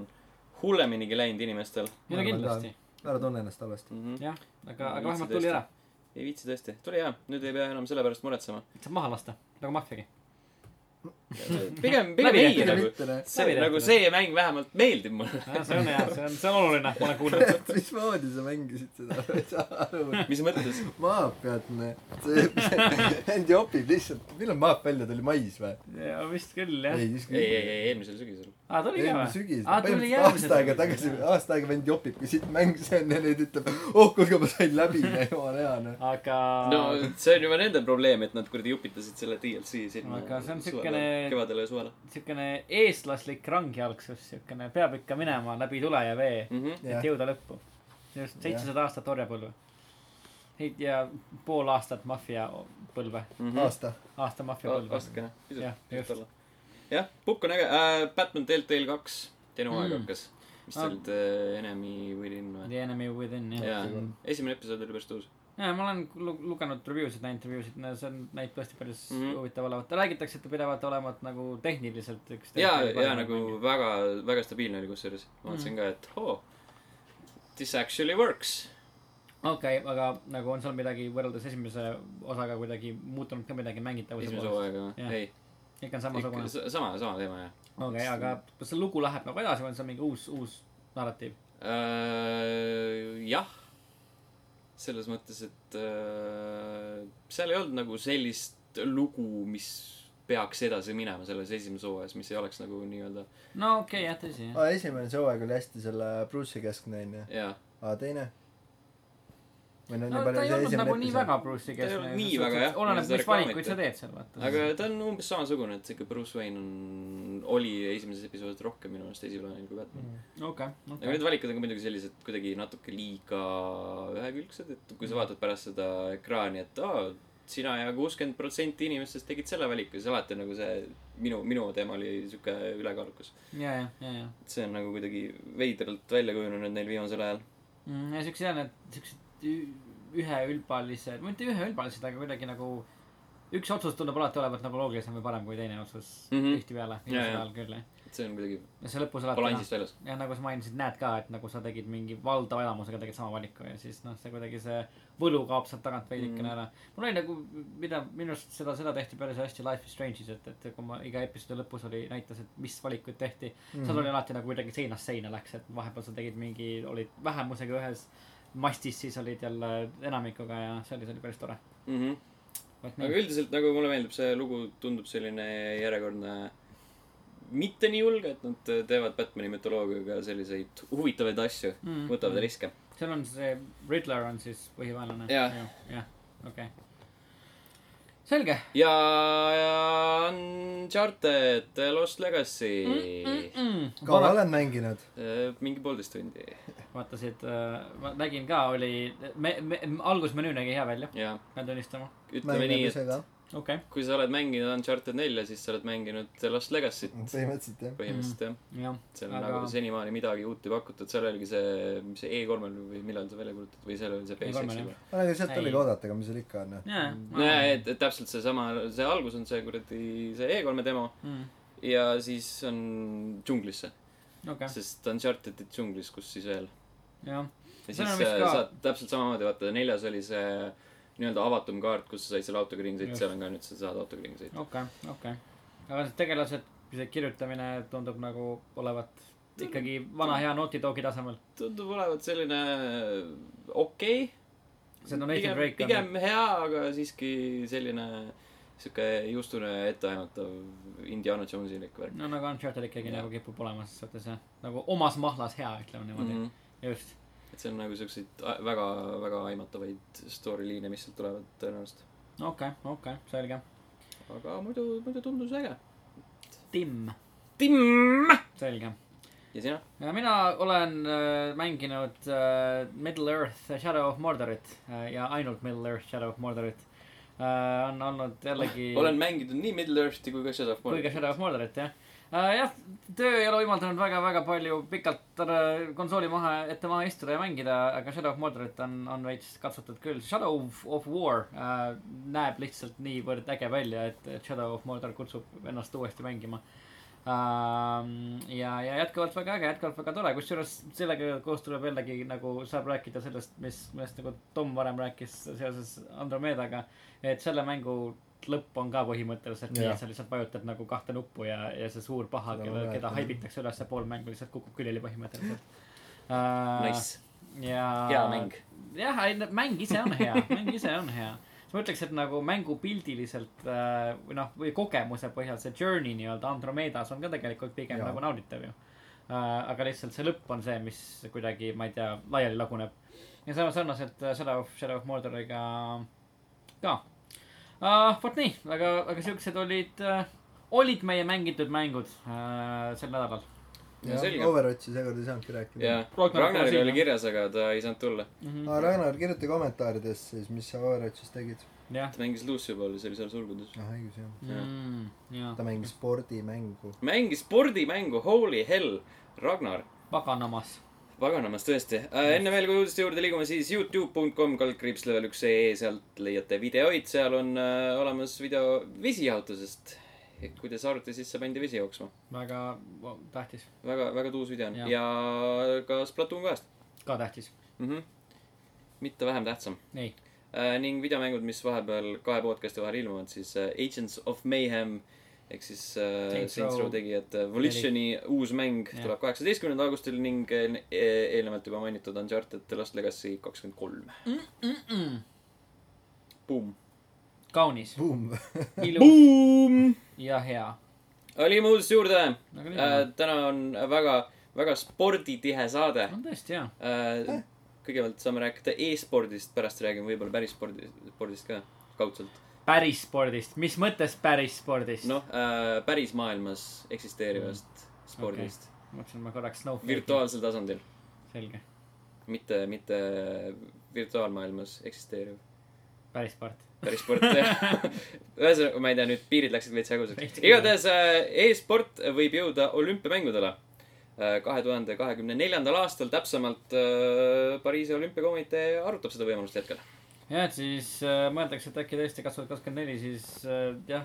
A: hulleminigi läinud inimestel
C: ei no
B: Ma arvan
C: kindlasti ,
B: ära tunne ennast halvasti .
A: mm . -hmm.
C: jah , aga , aga
A: Viitsi
C: vähemalt tuli
A: tõesti.
C: ära .
A: ei viitsi tõesti , tuli hea , nüüd ei pea enam selle pärast muretsema .
C: saab maha lasta , nagu maffiagi .
A: pigem , pigem
C: Läbi
A: ei
C: tehtud.
A: nagu .
B: mitte noh .
A: see
C: Läbi
A: nagu
C: tehtud.
A: see mäng vähemalt meeldib mulle .
C: see on hea , see on , see on oluline , ma olen kuulnud .
B: mismoodi sa mängisid seda , ma ei saa aru .
A: mis mõttes ?
B: maa pealt , see vend jopib lihtsalt , millal maap välja tuli , mais või ?
C: vist küll jah
B: ei ,.
A: ei , ei , ei , eelmisel sügisel .
C: aa , tuli ka
B: eelmine
C: või ?
B: sügis ,
C: Aa, tuli
B: põhimõtteliselt
C: järgmise
B: aasta
C: sügisel,
B: aega tagasi
C: jah. ,
B: aasta aega vend jopib , kui siit mäng see on ja nüüd ütleb , oh kuulge , ma sain läbi , jumala hea noh .
C: aga
A: no see on juba nende probleem , et nad kuradi jupitasid selle DLC sinna .
C: Aga see on siukene-
A: kevadele ja suvele
C: siukene eestlaslik rangjalgsus , siukene peab ikka minema läbi tule ja vee ,
A: mm . -hmm.
B: Jah.
C: et jõuda lõppu . just seitsesada aastat orjapõlve . ja pool aastat maffia põlve ,
A: Mm -hmm.
B: aasta .
C: aasta maffia põlve .
A: aastakene ,
C: Jah,
A: pisut ,
C: just.
A: pisut alla . jah , Pukk on äge äh, , Batman Telltale kaks , teine hooaeg
C: Mm.
A: hakkas . mis
C: Ah.
A: ta nüüd äh, , Enemy Within või ?
C: The Enemy Within jah .
A: jaa , esimene episood oli päris tõus .
C: jaa , ma olen lu- lugenud review sid , näinud review sid , see on , näib tõesti päris mm
A: Mhm.
C: -hmm. huvitav olevat . räägitakse , et ta pidavat olema nagu tehniliselt üks .
A: jaa , jaa nagu väga , väga stabiilne oli kusjuures . ma mõtlesin ka , et oo , this actually works .
C: okei okay, , aga nagu on seal midagi võrreldes esimese osaga kuidagi muutunud ka midagi mängitavuse
A: esimese
C: poolest ?
A: hooaega ,
C: Jah.
A: ei ,
C: ikka on
A: ikka
C: samasugune .
A: sa- sama , sama teema jah .
C: okei okay, , aga kas see lugu läheb nagu edasi või on see mingi uus , uus narratiiv ?
A: Äh, jah , selles mõttes , et äh, seal ei olnud nagu sellist lugu , mis peaks edasi minema selles esimeses hooajas , mis ei oleks nagu nii-öelda ,
C: no okei okay, , jah , tõsi jah .
B: aa , esimene see hooaeg oli hästi selle Bruce'i keskne onju .
A: jaa .
B: aa , teine ? või no
C: no
B: nii palju
C: ta ei
B: see
C: olnud
B: esimene
C: nagu nii
B: episood .
C: väga Bruce'i
A: Ta ei
C: keskne
A: olnud . nii väga, jah, kui
C: oleneb ,
A: seda
C: mis valikuid
A: reklaamiti.
C: sa teed seal , vaata .
A: aga ta on umbes samasugune , et sihuke Bruce Wayne on , oli esimeses episoodis rohkem minu meelest esiplaanil kui Batman .
C: okei ,
A: aga
C: okei .
A: need valikud on ka muidugi sellised kuidagi natuke liiga ühekülgsed , et kui sa vaatad pärast seda ekraani , et aa , sina ja kuuskümmend protsenti inimestest tegid selle valiku , siis alati on nagu see minu , minu teema oli sihuke ülekaalukas .
C: ja , ja , ja , ja .
A: et see on nagu kuidagi veidralt välja kujunenud neil viimasel ajal .
C: mm, . ja siuksed jah , need siuksed ü- üheülbalised , mitte üheülbalised , aga kuidagi nagu üks otsus tundub alati olevat nagu loogilisem või parem kui teine otsus mm
A: Mhm.
C: -hmm. tihtipeale ,
A: Ja,
C: viimasel
A: ja.
C: ajal küll jah .
A: et see on kuidagi
C: ja see lõpus alati
A: balansist väljas .
C: jah , nagu sa mainisid , näed ka , et nagu sa tegid mingi valdava enamusega tegid sama valiku ja siis noh , see kuidagi see võlu kaob sealt tagant veidikene
A: Mhm.
C: ära . mul oli nagu , mida minu arust seda , seda tehti päris hästi Life is Strange'is , et , et kui ma iga episoodi lõpus oli , näitas , et mis valikuid tehti mm. . seal oli alati nagu kuidagi seinast seina läks , et vahepeal sa tegid mingi , olid vähemusega ühes mastis , siis olid jälle enamikuga ja see oli , see oli päris tore .
A: mm . -hmm. aga üldiselt nagu mulle meeldib , see lugu tundub selline järjekordne , mitte nii julge , et nad teevad Batman'i mütoloogiaga selliseid huvitavaid asju ,
C: Mm.
A: võtavad riske .
C: seal on see Riddler on siis põhivaenlane .
A: Jah.
C: jah , okei okay. . selge .
A: ja , ja Uncharted , Lost Legacy mm .
B: kaua oled mänginud ?
A: -mm. mingi poolteist tundi
C: vaatasid , ma nägin ka , oli , me , me , algusmenüü nägi hea välja ,
A: ja
C: pean tunnistama .
A: ütleme
B: mängin nagu
A: nii ,
B: ise ka
A: et .
C: okei okay. ,
A: kui sa oled mänginud Uncharted nelja , siis sa oled mänginud Lost Legacy't
B: Mm. põhimõtteliselt jah .
A: põhimõtteliselt jah ,
C: jah ,
A: seal on
C: Aga-
A: nagu senimaani midagi uut ei pakutud , seal oligi see , mis see E3-l või millal see välja kuulutati või seal oli see
C: E3-l
A: PS6-l
C: jah.
A: või ?
B: aga ega sealt
C: Ei.
B: oligi oodata , aga mis seal ikka on noh .
C: jaa .
A: nojah , et , et täpselt seesama , see algus on see kuradi , see E3-e demo
C: Mm.
A: ja siis on džunglisse ,
C: okei ,
A: sest Uncharted'i džunglis , kus siis veel .
C: jah ,
A: ja
C: Seal on
A: siis
C: vist
A: äh,
C: ka-
A: saad täpselt samamoodi , vaata neljas oli see nii-öelda avatum kaart , kus sa said selle autoga ringi sõita ,
C: Just.
A: seal on ka nüüd , sa saad autoga ringi sõita .
C: okei , okei . aga need tegelased , see kirjutamine tundub nagu olevat ikkagi vana hea Naughty Dogi tasemel .
A: tundub olevat selline äh, okei
C: see on Nathan
A: pigem ,
C: Drake on .
A: pigem hea , aga siiski selline sihuke juustune etteaimatav Indiana Jonesi-lik värk
C: no nagu Uncharted ikkagi
A: Jah.
C: nagu kipub olema ses suhtes jah , nagu omas mahlas hea , ütleme
A: mm .
C: niimoodi ,
A: -hmm.
C: just .
A: et see on nagu siukseid a- väga , väga aimatavaid story liine , mis sealt tulevad tõenäoliselt .
C: okei , okei , selge .
A: aga muidu , muidu tundus äge .
C: Tim ,
A: Timm .
C: selge .
A: ja sina ?
C: ja mina olen äh, mänginud äh, Middle Earth Shadow of Mordorit äh, ja ainult Middle Earth Shadow of Mordorit äh, . on olnud jällegi .
A: Ah, olen mänginud nii Middle Earthi kui ka Shadow of
C: kui ka
A: Mordor .
C: Shadow of Mordorit jah . jah , töö ei ole võimaldanud väga-väga palju pikalt äh, konsooli maha , ette maha istuda ja mängida , aga Shadow of Mordorit on , on veits katsutud küll . Shadow of- of War äh, näeb lihtsalt niivõrd äge välja , et et Shadow of Mordor kutsub ennast uuesti mängima . Ehm, ja , ja jätkuvalt väga äge , jätkuvalt väga tore , kusjuures sellega koos tuleb jällegi nagu saab rääkida sellest , mis , millest nagu Tom varem rääkis seoses Andromedaga . et selle mängu lõpp on ka põhimõtteliselt nii ,
B: Jah.
C: et sa lihtsalt vajutad nagu kahte nuppu ja , ja see suur paha ,
B: Seda ma
C: keda , keda
B: mäletan.
C: haibitakse üles pool mängu lihtsalt kukub külili põhimõtteliselt . Ehm,
A: Nice ,
C: ja .
A: hea mäng .
C: jah , ei no mäng ise on hea , mäng ise on hea . siis ma ütleks , et nagu mängupildiliselt äh, või noh , või kogemuse põhjal see journey nii-öelda Andromedas on ka tegelikult pigem
B: Jaa.
C: ja. nagu nauditav ju . aga lihtsalt see lõpp on see , mis kuidagi , ma ei tea , laiali laguneb . ja sama sarnaselt äh, Shadow of , Shadow of Mordoriga ka uh, . vot nii , aga , aga siuksed olid uh, , olid meie mängitud mängud uh, sel nädalal
A: Ja selge.
B: Overwatchi seekord ei saanudki rääkida .
A: jaa ,
C: Ragnar
A: Ragnaril
C: Rosin,
A: oli
C: jah.
A: kirjas , aga ta ei saanud tulla .
C: mm . -hmm.
B: aga Ragnar , kirjuta kommentaarides siis , mis sa Overwatchis tegid .
C: jah
A: ta mängis Lucifer'i , see oli seal sulgudes .
B: ah , õigus jah .
C: mm, , jaa ,
B: ta mängis spordimängu .
A: mängis spordimängu , holy hell , Ragnar .
C: paganamas
A: paganamas tõesti äh, . enne veel , kui uudiste juurde liigume , siis Youtube.com kaldkriips level üks ee , sealt leiate videoid , seal on äh, olemas video visijaotusest . kuidas arvuti sisse pandi vesi jooksma .
C: väga va- tähtis ,
A: väga , väga tuus video on ja,
C: Jah.
A: ja ka Splatoon kahest
C: ka tähtis ,
A: mm . -hmm. mitte vähem tähtsam
C: ei .
A: äh, . ning videomängud , mis vahepeal kahe podcast'i vahel ilmuvad , siis äh, Agents of Mayhem ehk siis äh,
C: Saints
A: Saints Row
C: Row
A: tegijad äh, Volitioni uus mäng
C: Jah.
A: tuleb kaheksateistkümnendal augustil ning eel- e- eelnevalt juba mainitud Uncharted The Lost Legacy kakskümmend kolm . Boom .
C: kaunis ,
B: Boom .
C: ilus
A: Boom .
C: ja hea .
A: liigume uudiste juurde äh, .
C: aga nii äh, ,
A: täna on väga , väga sporditihe saade
C: on tõesti hea .
A: äh, . kõigepealt saame rääkida e-spordist , pärast räägime võib-olla päris spordi , spordist ka kaudselt .
C: päris spordist , mis mõttes päris spordist no. ?
A: noh äh, , päris maailmas eksisteerivast mm. spordist okay. .
C: mõtlesin , et ma korraks snowflake'i .
A: virtuaalsel tasandil ,
C: selge ,
A: mitte , mitte virtuaalmaailmas eksisteeriv .
C: päris sport .
A: päris sport , ühesõnaga , ma ei tea , nüüd piirid läksid veits häguseks
C: Veits . küll,
A: igatahes äh, e-sport võib jõuda olümpiamängudele Äh, kahe tuhande kahekümne neljandal aastal , täpsemalt äh, Pariisi olümpiakomitee arutab seda võimalust hetkel .
C: jah , et siis äh, mõeldakse , et äkki tõesti kaks tuhat kakskümmend neli , siis äh, jah ,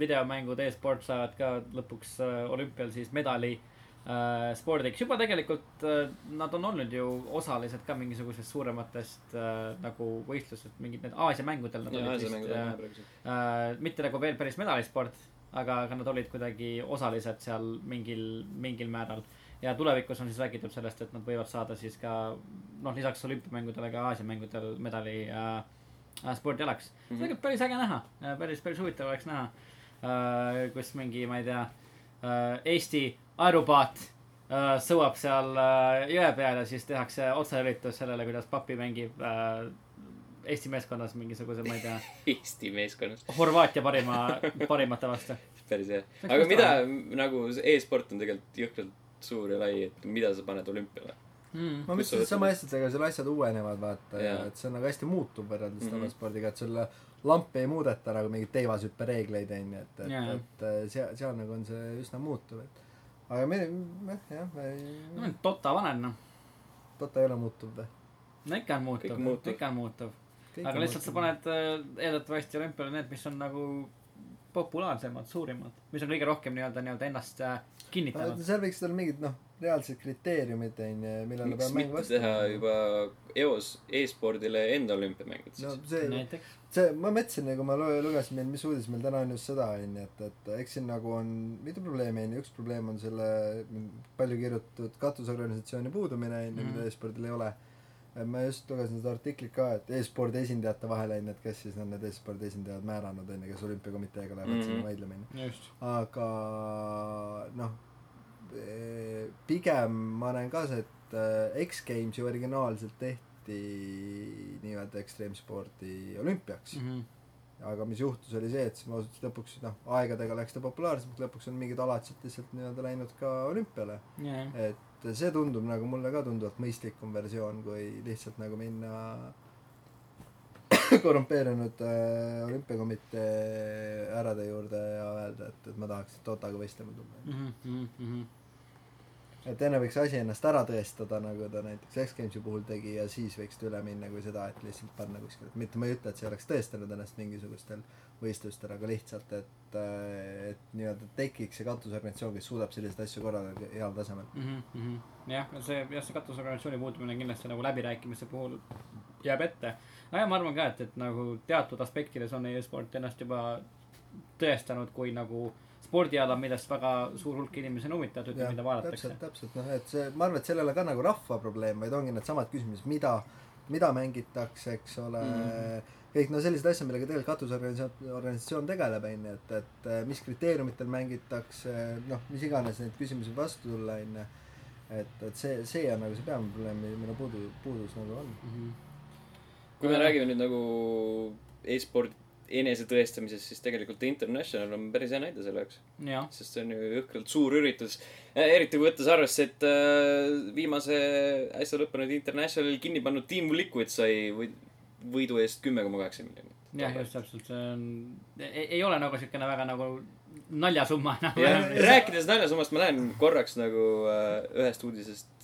C: videomängud e-sport saavad ka lõpuks äh, olümpial siis medali äh, spordiks . juba tegelikult äh, nad on olnud ju osalised ka mingisugusest suurematest äh, nagu võistlustest , mingid need Aasia mängudel nad olid vist äh, äh, mitte nagu veel päris medalisport , aga , aga nad olid kuidagi osalised seal mingil , mingil määral . ja tulevikus on siis räägitud sellest , et nad võivad saada siis ka noh , lisaks olümpiamängudele ka Aasia mängudel medali äh, äh, spordialaks mm . -hmm. see on päris äge näha , päris , päris huvitav oleks näha äh, , kus mingi , ma ei tea äh, , Eesti aerupaat äh, sõuab seal äh, jõe peal ja siis tehakse otseüritus sellele , kuidas papi mängib äh, Eesti meeskonnas mingisuguse , ma ei tea
A: Eesti meeskonnas ,
C: Horvaatia parima , parimate vastu .
A: päris hea .
C: Peaks
A: aga
C: vastama.
A: mida nagu see e-sport on tegelikult jõhkralt suur ja lai , et mida sa paned olümpiale ?
B: ma
A: Mis sa
B: mõtlesin
A: mõtled?
B: sama hästi , et ega seal asjad uuenevad , vaata ja
A: Jaa.
B: et see on nagu hästi muutuv võrreldes
A: Mhm.
B: tavaspordiga , et sul lampi ei muudeta nagu mingeid teivashüppereegleid onju , et , et
C: Jaa. ,
B: et äh, seal , seal nagu on see üsna muutuv , et aga me , noh jah , me
C: ma
B: ei ,
C: olen tota vanem , noh .
B: Dota ei ole muutuv või ?
C: no ikka on
A: Kõik
C: muutuv
A: on , muutuv.
C: ikka on muutuv . aga lihtsalt sa . paned äh, eeldatavasti olümpiale need , mis on nagu populaarsemad , suurimad , mis on kõige rohkem nii-öelda , nii-öelda ennast äh, kinnitanud .
B: Ah, seal võiksid olla mingid noh , reaalsed kriteeriumid onju , millele
A: miks
B: peab mäng
A: mitte
B: vastu
A: teha . juba eos e-spordile enda olümpiamängud
B: no
A: siis no. ?
B: see ,
C: näiteks .
B: see , ma mõtlesin nagu ma lu- lugesin meil , mis uudis meil täna on just seda onju , et , et eks siin nagu on mitu probleemi onju , üks probleem on selle palju kirjutatud katusorganisatsiooni puudumine onju , mida
C: Mhm.
B: e-spordil ei ole . ma just lugesin seda artiklit ka , et e-spordi esindajate vahel onju , et kes siis on need e-spordi esindajad määranud onju , kes olümpiakomiteega lähevad mm -hmm.
A: Mhm.
B: sinna vaidlema onju .
C: just .
B: aga noh , pigem ma näen ka see , et eh, X-Games ju originaalselt tehti nii-öelda ekstreemspordi olümpiaks mm .
C: Mhm.
B: -hmm. aga mis juhtus , oli see , et siis ma ausalt öeldes lõpuks noh , aegadega läks ta populaarsemaks , lõpuks on mingid alad sealt lihtsalt nii-öelda läinud ka olümpiale .
C: jah ,
B: et see tundub nagu mulle ka tunduvalt mõistlikum versioon , kui lihtsalt nagu minna korrumpeerunud äh, olümpiakomitee
C: Mhm,
B: härrade juurde ja öelda , et , et ma tahaks et Totaga võistlema tulla .
C: jah .
B: et enne võiks asi ennast ära tõestada , nagu ta näiteks X-Gamesi puhul tegi ja siis võiks ta üle minna kui seda , et lihtsalt panna kuskile , mitte ma ei ütle , et see oleks tõestanud ennast mingisugustel võistlustel , aga lihtsalt , et , et nii-öelda tekiks see katusorganisatsioon , kes suudab selliseid asju korraldada heal tasemel .
C: mm . -hmm. jah , see , jah , see katusorganisatsiooni puudumine kindlasti nagu läbirääkimiste puhul jääb ette . nojah , ma arvan ka , et , et nagu teatud aspektides on e-sport ennast juba tõestanud kui nagu spordiala , millest väga suur hulk inimesi on huvitatud ja mida vaadatakse
B: täpselt ,. täpselt , noh , et see , ma arvan , et sellel ei ole ka nagu rahva probleem , vaid ongi needsamad küsimused , mida , mida mängitakse , eks ole
C: Mhm.
B: mm. , kõik no sellised asjad , millega tegelikult katusorganisatsioon , organisatsioon tegeleb , on ju , et , et eh, mis kriteeriumitel mängitakse , noh , mis iganes neid küsimusi võib vastu tulla , on ju . et , et see , see on nagu see peamine probleem , mille puudu , puudus nagu on .
C: Mhm. Mm-hmm.
A: kui me räägime nüüd nagu e-spordi enesetõestamisest , siis tegelikult The International on päris hea näide selle jaoks .
C: jah ,
A: sest see on ju jõhkralt suur üritus . eriti võttes arvesse , et äh, viimase äsja lõppenud Internationali kinni pannud Team Liquid sai või- võidu eest kümme koma kaheksa miljonit .
C: jah , just täpselt , see on , ei ei ole nagu siukene väga nagu naljasumma nagu. enam
A: ja
C: no, .
A: rääkides naljasummast , ma lähen korraks nagu äh, ühest uudisest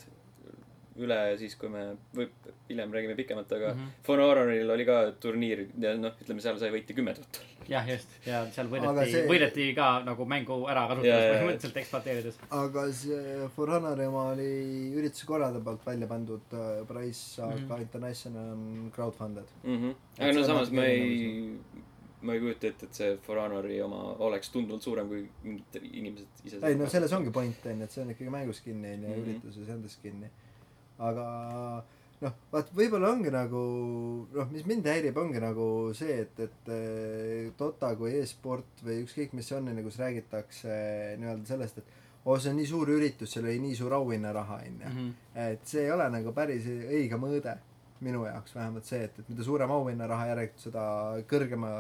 A: üle siis , kui me võib , hiljem räägime pikemalt , aga mm
C: Mhm.
A: -hmm. For Honoril oli ka turniir ja noh , ütleme seal sai võiti kümme tuhat .
C: jah , just , ja seal
B: Aga
C: võideti
B: see- ,
C: võideti ka nagu mängu ära
A: Jaa, jaa,
C: kasutades ,
A: jaa.
C: põhimõtteliselt ekspluateerides .
B: aga see For Honor oma oli ürituse korraldaja poolt välja pandud äh, price , aga mm.
C: Mhm.
B: International on crowdfunded .
A: mm . -hmm.
B: Mhm. Et
A: aga
B: see
A: no
B: on
A: samas
B: natuke
A: ma ei
B: erinev, ,
A: ma ei kujuta ette , et see For Honori oma oleks tunduvalt suurem , kui mingid inimesed ise .
B: ei no selles ongi point on ju , et see on ikkagi mängus kinni on ju mm
A: Mhm.
B: -hmm. , ürituses endas kinni . aga noh , vaat võib-olla ongi nagu noh , mis mind häirib , ongi nagu see , et , et eh, Dota kui e-sport või ükskõik mis see on , on ju , kus räägitakse nii-öelda sellest , et oo , see on nii suur üritus , seal oli nii suur auhinnaraha on ju .
A: Mhm.
B: et see ei ole nagu päris õige mõõde minu jaoks vähemalt see , et , et mida suurem auhinnaraha järelikult , seda kõrgema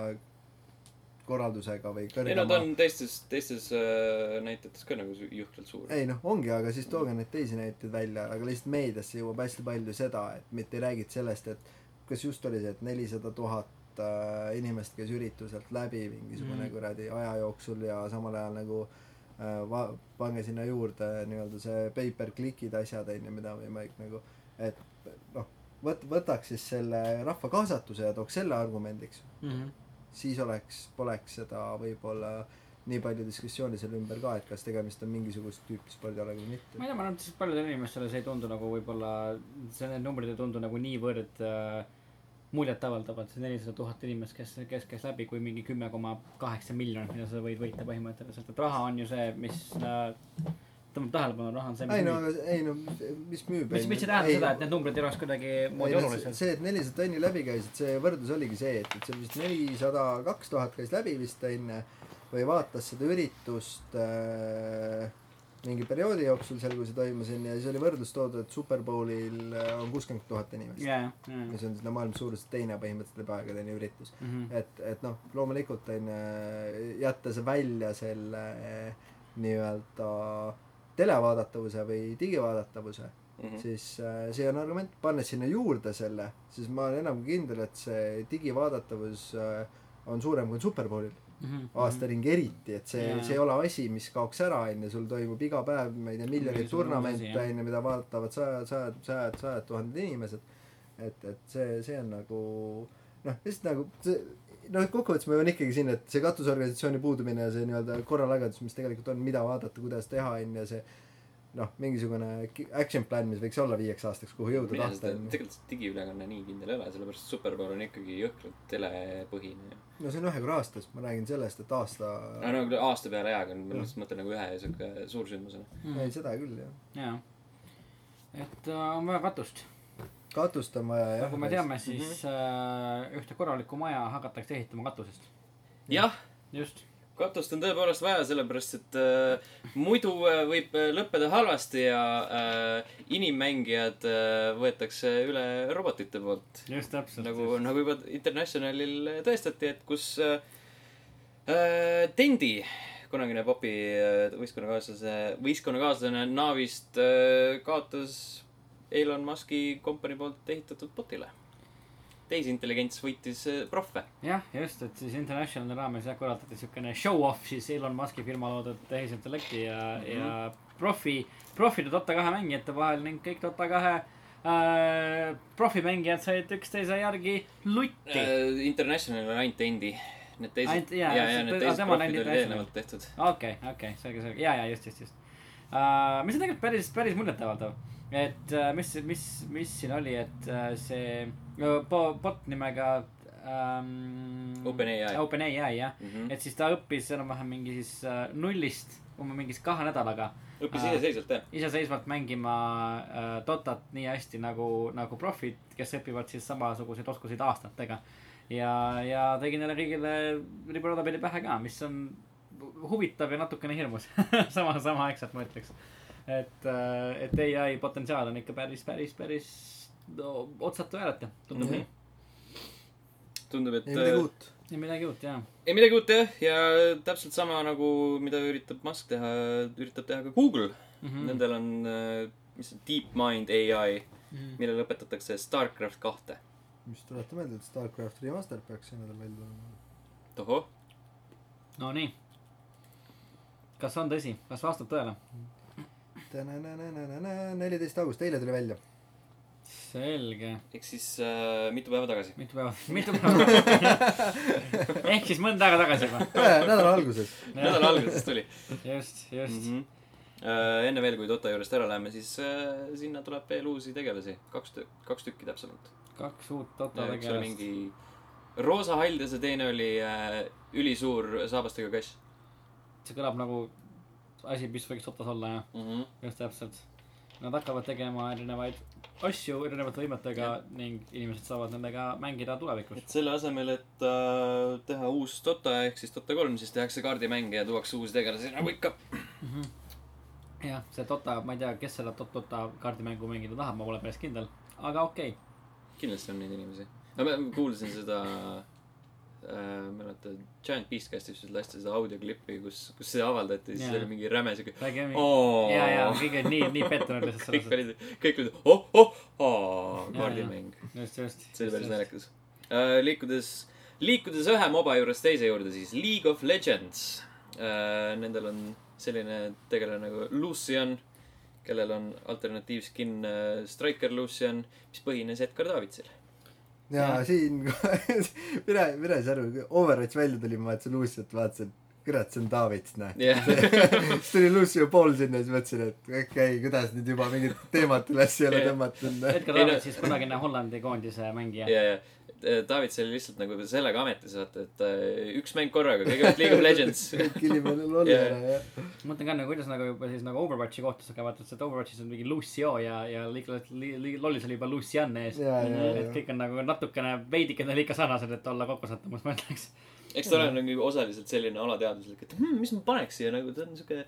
B: korraldusega või
A: ei no ta
B: kõrgema
A: on teistes , teistes äh, näitetes ka nagu su- jõhkralt suur .
B: ei noh , ongi , aga siis tooge neid teisi näiteid välja , aga lihtsalt meediasse jõuab hästi palju seda , et mitte ei räägita sellest , et kas just oli see , et nelisada tuhat äh, inimest käis ürituselt läbi mingisugune
C: Mm.
B: mm. kuradi aja jooksul ja samal ajal nagu äh, va- , pange sinna juurde nii-öelda see pay-per-click'id , asjad on ju , mida võimalik nagu , et noh , võt- , võtaks siis selle rahva kaasatuse ja tooks selle argumendiks , siis oleks , poleks seda võib-olla nii palju diskussiooni selle ümber ka , et kas tegemist on mingisugust tüüpi spordialaga
C: ma
B: või
C: ei
B: mitte .
C: tea , ma arvan , et siis paljudele inimestele see ei tundu nagu võib-olla , see , need numbrid ei tundu nagu niivõrd äh, muljetavaldavad , see nelisada tuhat inimest , kes , kes käis läbi , kui mingi kümme koma kaheksa miljonit , mida sa võid võita põhimõtteliselt , et raha on ju see , mis äh, tõmbab tähelepanu , raha on see , mis
B: ei no
C: müüb. ,
B: ei no mis müüb .
C: mis , mis ei tähenda seda , et need numbrid ei oleks kuidagimoodi olulised .
B: see , et nelisada tonni läbi käis , et see võrdlus oligi see , et , et see vist nelisada kaks tuhat käis läbi vist enne või vaatas seda üritust äh, mingi perioodi jooksul seal , kui see toimus onju ja siis oli võrdlus toodud , et Superbowlil äh, on kuuskümmend tuhat inimest .
C: jah , jah ,
B: mis on seda maailma suuruselt teine põhimõtteliselt läbi aegade onju üritus .
C: jah .
B: et , et noh , loomulikult on ju jätta see välja selle eh, nii-öelda televaadatavuse või digivaadatavuse mm , -hmm. siis eh, see on argument , pannes sinna juurde selle , siis ma olen enam kui kindel , et see digivaadatavus eh, on suurem kui Superbowlil
C: Mhm.
B: aastaringi eriti , et
C: Mm.
B: see
C: Jaa.
B: yeah. , see ei ole asi , mis kaoks ära , on ju , sul toimub iga päev , ma ei tea , miljoneid
C: Mingi suur
B: turnamente ,
C: asi, jah.
B: on ju , mida vaatavad sajad , sajad , sajad , sajad tuhanded inimesed . et , et see , see on nagu noh , lihtsalt nagu see , noh , kokkuvõttes ma jõuan ikkagi sinna , et see katusorganisatsiooni puudumine ja see nii-öelda korralagedus , mis tegelikult on , mida vaadata , kuidas teha , on ju , see noh , mingisugune ki- action plan , mis võiks olla viieks aastaks , kuhu jõuda
A: mina
B: tahta
A: seda ,
B: on ju .
A: tegelikult see digiülekanne nii kindel ei ole , sellepärast et Superbowl on ikkagi jõhkralt telepõhine ju .
B: no see on ühe korra aastas , ma räägin sellest , et aasta
A: aga no küll aasta peale jaa , aga ma lihtsalt mõtlen nagu ühe siuke suursündmusena .
C: Mm.
B: ei , seda küll jah .
C: jah , Mhm. et äh, on vaja katust
B: katust on vaja jah . Mhm.
C: nagu me teame , siis äh, ühte korralikku maja hakatakse ehitama katusest .
A: jah ,
C: just .
A: katust on tõepoolest vaja , sellepärast et äh, muidu äh, võib äh, lõppeda halvasti ja äh, inimmängijad äh, võetakse üle robotite poolt .
C: just täpselt
A: nagu , nagu juba Internationalil tõestati , et kus äh, äh, Tendi , kunagine popi äh, võistkonnakaaslase , võistkonnakaaslane Navist äh, kaotas Elon Musk'i kompanii poolt ehitatud botile . tehisintelligents võitis äh, prohve .
C: jah , just , et siis
A: Mhm.
C: Internationali raames jah korraldati siukene show-off siis Elon Musk'i firma loodud tehisintellekti ja mm , -hmm. profi , profide Dota kahe mängijate vahel ning kõik Dota kahe äh, profimängijad said üksteise järgi lutti äh, .
A: uh, . International on ainult Endi . Need teised
C: Ainult- , jaa,
A: jaa , jaa ,
C: see-
A: need
C: aa,
A: teised
C: tema
A: profid
C: on ainult
A: olid
C: International.
A: eelnevalt tehtud .
C: okei okay, , okei okay, , selge , selge , ja , ja just , just , just uh, . mis on tegelikult päris , päris muljetavaldav , et uh, mis , mis , mis siin oli , et uh, see uh, bo- bot nimega um, .
A: OpenAI. Mhm.
C: OpenAI jah mm , -hmm. et siis ta õppis enam-vähem mingi siis uh, nullist umbes mingis kahe nädalaga Äh,
A: õppis
C: Aa.
A: iseseisvalt jah .
C: iseseisvalt mängima äh, Dotat nii hästi nagu , nagu profid , kes õpivad siis samasuguseid oskuseid aastatega . ja , ja tegi neile kõigile liberaalapeeli pähe ka , mis on huvitav ja natukene hirmus . sama , samaaegselt ma ütleks . et , et ai potentsiaal on ikka päris , päris , päris no, otsatu hääleta , tundub
A: Mhm.
C: nii .
A: tundub , et
B: ei midagi
A: äh,
B: uut .
C: ja midagi uut jah .
A: ei midagi uut jah , ja täpselt sama nagu , mida üritab Musk teha , üritab teha ka Google .
C: Mhm.
A: Nendel on , mis see , DeepMind ai , millele õpetatakse Starcraft kahte .
B: mis tuletab meelde , et Starcraft Remaster peaks see nädal välja tulema .
A: tohoh ,
C: Nonii . kas on tõsi , kas vastab tõele ?
B: neliteist august , eile tuli välja .
C: selge
A: ehk siis äh, mitu päeva tagasi .
C: mitu päeva , mitu päeva ehk siis mõnda aega tagasi juba .
B: nädala alguses .
A: nädala alguses tuli .
C: just , just mm .
A: mm . -hmm. enne veel , kui Dota juurest ära läheme , siis äh, sinna tuleb veel uusi tegelasi , kaks tü- , kaks tükki täpsemalt .
C: -hmm. kaks uut Dota
A: üks oli
C: tegelast .
A: mingi roosa haldjas ja teine oli äh, ülisuur saabastega kass
C: see kõlab nagu asi , mis võiks Dotas olla , jah .
A: mm . -hmm.
C: just täpselt . Nad hakkavad tegema erinevaid asju erinevate võimetega ja. ning inimesed saavad nendega mängida tulevikus .
A: et selle asemel , et äh, teha uus Dota ehk siis Dota kolm , siis tehakse kaardimänge ja tuuakse uusi tegelasi nagu ikka .
C: jah , see Dota , ma ei tea , kes seda Dot- Dota kaardimängu mängida tahab , ma pole päris kindel , aga okei okay. .
A: kindlasti on neid inimesi . ma kuulsin seda äh, mäletad , Giant Beastcastis lasti seda audioklippi , kus , kus see avaldati , siis
C: Jaa.
A: oli mingi räme siuke
C: räägime mingi...
A: oo .
C: ja , ja kõik olid nii , nii pettunud lihtsalt
A: kõik
C: selles .
A: olid , kõik olid oh , oh , aa , kaardimäng .
C: just , just .
A: see oli päris . naljakas . liikudes , liikudes ühe moba juurest teise juurde , siis League of Legends . Nendel on selline tegelane nagu Lucian , kellel on alternatiivskin äh, Striker Lucian , mis põhines Edgar Davidsil .
B: ja
C: Jah.
B: siin , mina , mina ei saa aru , Overwatch välja tuli , ma vaatasin Luciat , vaatasin , kurat , see on Davids , näe .
A: jah ,
B: siis tuli Lucio pool sinna , siis mõtlesin , et okei okay, , kuidas nüüd juba mingit teemat üles ei ole
A: Jah.
B: tõmmatud .
C: Edgar
A: Ei, no-
C: David siis kunagine Hollandi koondise mängija .
A: ja , ja Davids oli lihtsalt nagu sellega ametis , vaata , et äh, üks mäng korraga , kõigepealt League of Legends .
B: kilime lolli
A: Jah.
B: ära , jah .
C: ma mõtlen ka nagu kuidas nagu juba siis nagu Overwatchi kohtus , aga vaata , et Overwatchis on mingi Lucio ja , ja liiga- li- li- lollis oli juba Lucian ees .
B: Jaa, jaa, jaa.
C: et kõik on nagu natukene veidikene liiga sarnased , et olla kokkusattumus , ma ütleks .
A: eks ta ole nagu osaliselt selline alateaduslik , et hmm, mis ma paneks siia nagu , ta on siuke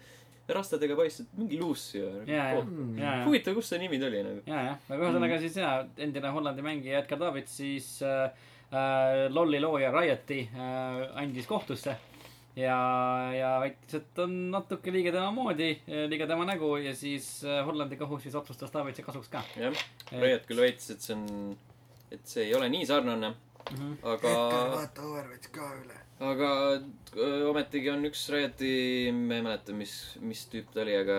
A: rastadega poiss , et mingi Lucio nagu,
C: ja , ja
A: oh, ,
C: ja , ja ,
A: huvitav , kus see nimi tuli nagu .
C: ja , ja , aga ühesõnaga siis jaa , endine Hollandi mängija Edgar David siis äh, äh, lolli looja Rioti äh, andis kohtusse ja , ja väitis , et on natuke liiga tema moodi , liiga tema nägu ja siis äh, Hollandi kohus siis otsustas Davidsi kasuks ka .
A: jah , Riot küll väitis , et see on , et see ei ole nii sarnane , aga ,
B: Edgar , vaata Overwatch ka üle .
A: aga öö, ometigi on üks Rioti , ma ei mäleta , mis , mis tüüp ta oli , aga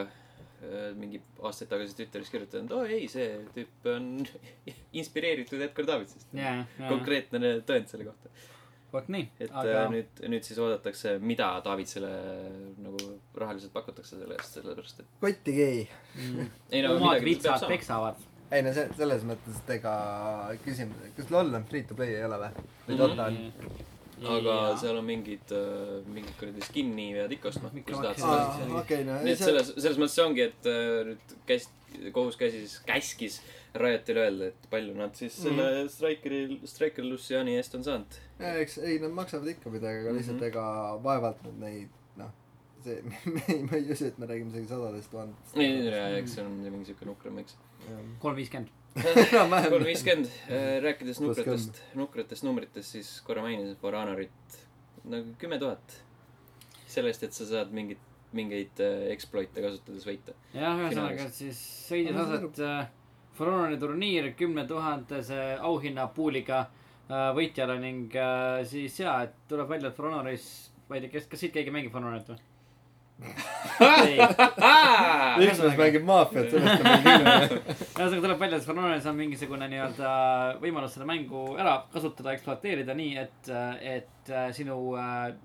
A: öö, mingi aastaid tagasi Twitteris kirjutanud , oo ei , see tüüp on inspireeritud Edgar Davidsist .
C: ja , ja ,
A: konkreetne tõend selle kohta .
C: vot nii .
A: et aga... nüüd , nüüd siis oodatakse , mida Davidsele nagu rahaliselt pakutakse selle eest , sellepärast et
B: kotti gei .
C: mm,
A: ei no
C: omad
A: midagi ta peab
C: vitsad
A: saama .
C: peksavad .
B: ei no see , selles mõttes , et ega küsimus , kas LOL on free to play ei ole või ? või Dota
C: Mhm.
B: on ?
A: aga seal on mingid , mingid kuradi skin'i pead ikka ostma , kui sa tahad seda
C: Mikromakse- Aa,
A: siis .
B: okei , no
A: nii et selles , selles mõttes see ongi , et äh, nüüd käis , kohus käsis , käskis Riotile öelda , et palju nad siis selle mm -hmm. Strikeri , Striker Luciani eest on saanud .
B: Ja eks , ei nad maksavad ikka midagi , aga lihtsalt
A: Mhm.
B: ega vaevalt nad neid , noh , see , me ei , ma ei usu , et me räägime isegi
A: ei ,
B: sadadest
A: ei ,
B: tuhandetest .
A: ei , eks see on mingi siuke nukram , eks .
C: kolm viiskümmend .
B: Enam-vähem.
A: kolm viiskümmend , rääkides
B: Pluss
A: nukratest , nukratest numbritest , siis korra mainisin Varanarit nagu kümme tuhat . sellest , et sa saad mingit , mingeid äh, exploit'e kasutades võita .
C: jah , ühesõnaga
A: Finaalis.
C: siis sõidis
B: Ma saan
C: aset äh, Forunari turniir kümne tuhandese auhinnapuuliga äh, võitjale ning äh, siis jaa , et tuleb välja , et Forunaris , ma ei tea , kes , kas siit keegi mängib Forunarit või ? ühesõnaga
B: üks mees mängib maffiat , sellest on mingi inimene .
C: tuleb välja , et Fornones on mingisugune nii-öelda võimalus seda mängu ära kasutada , ekspluateerida nii , et , et äh, sinu äh,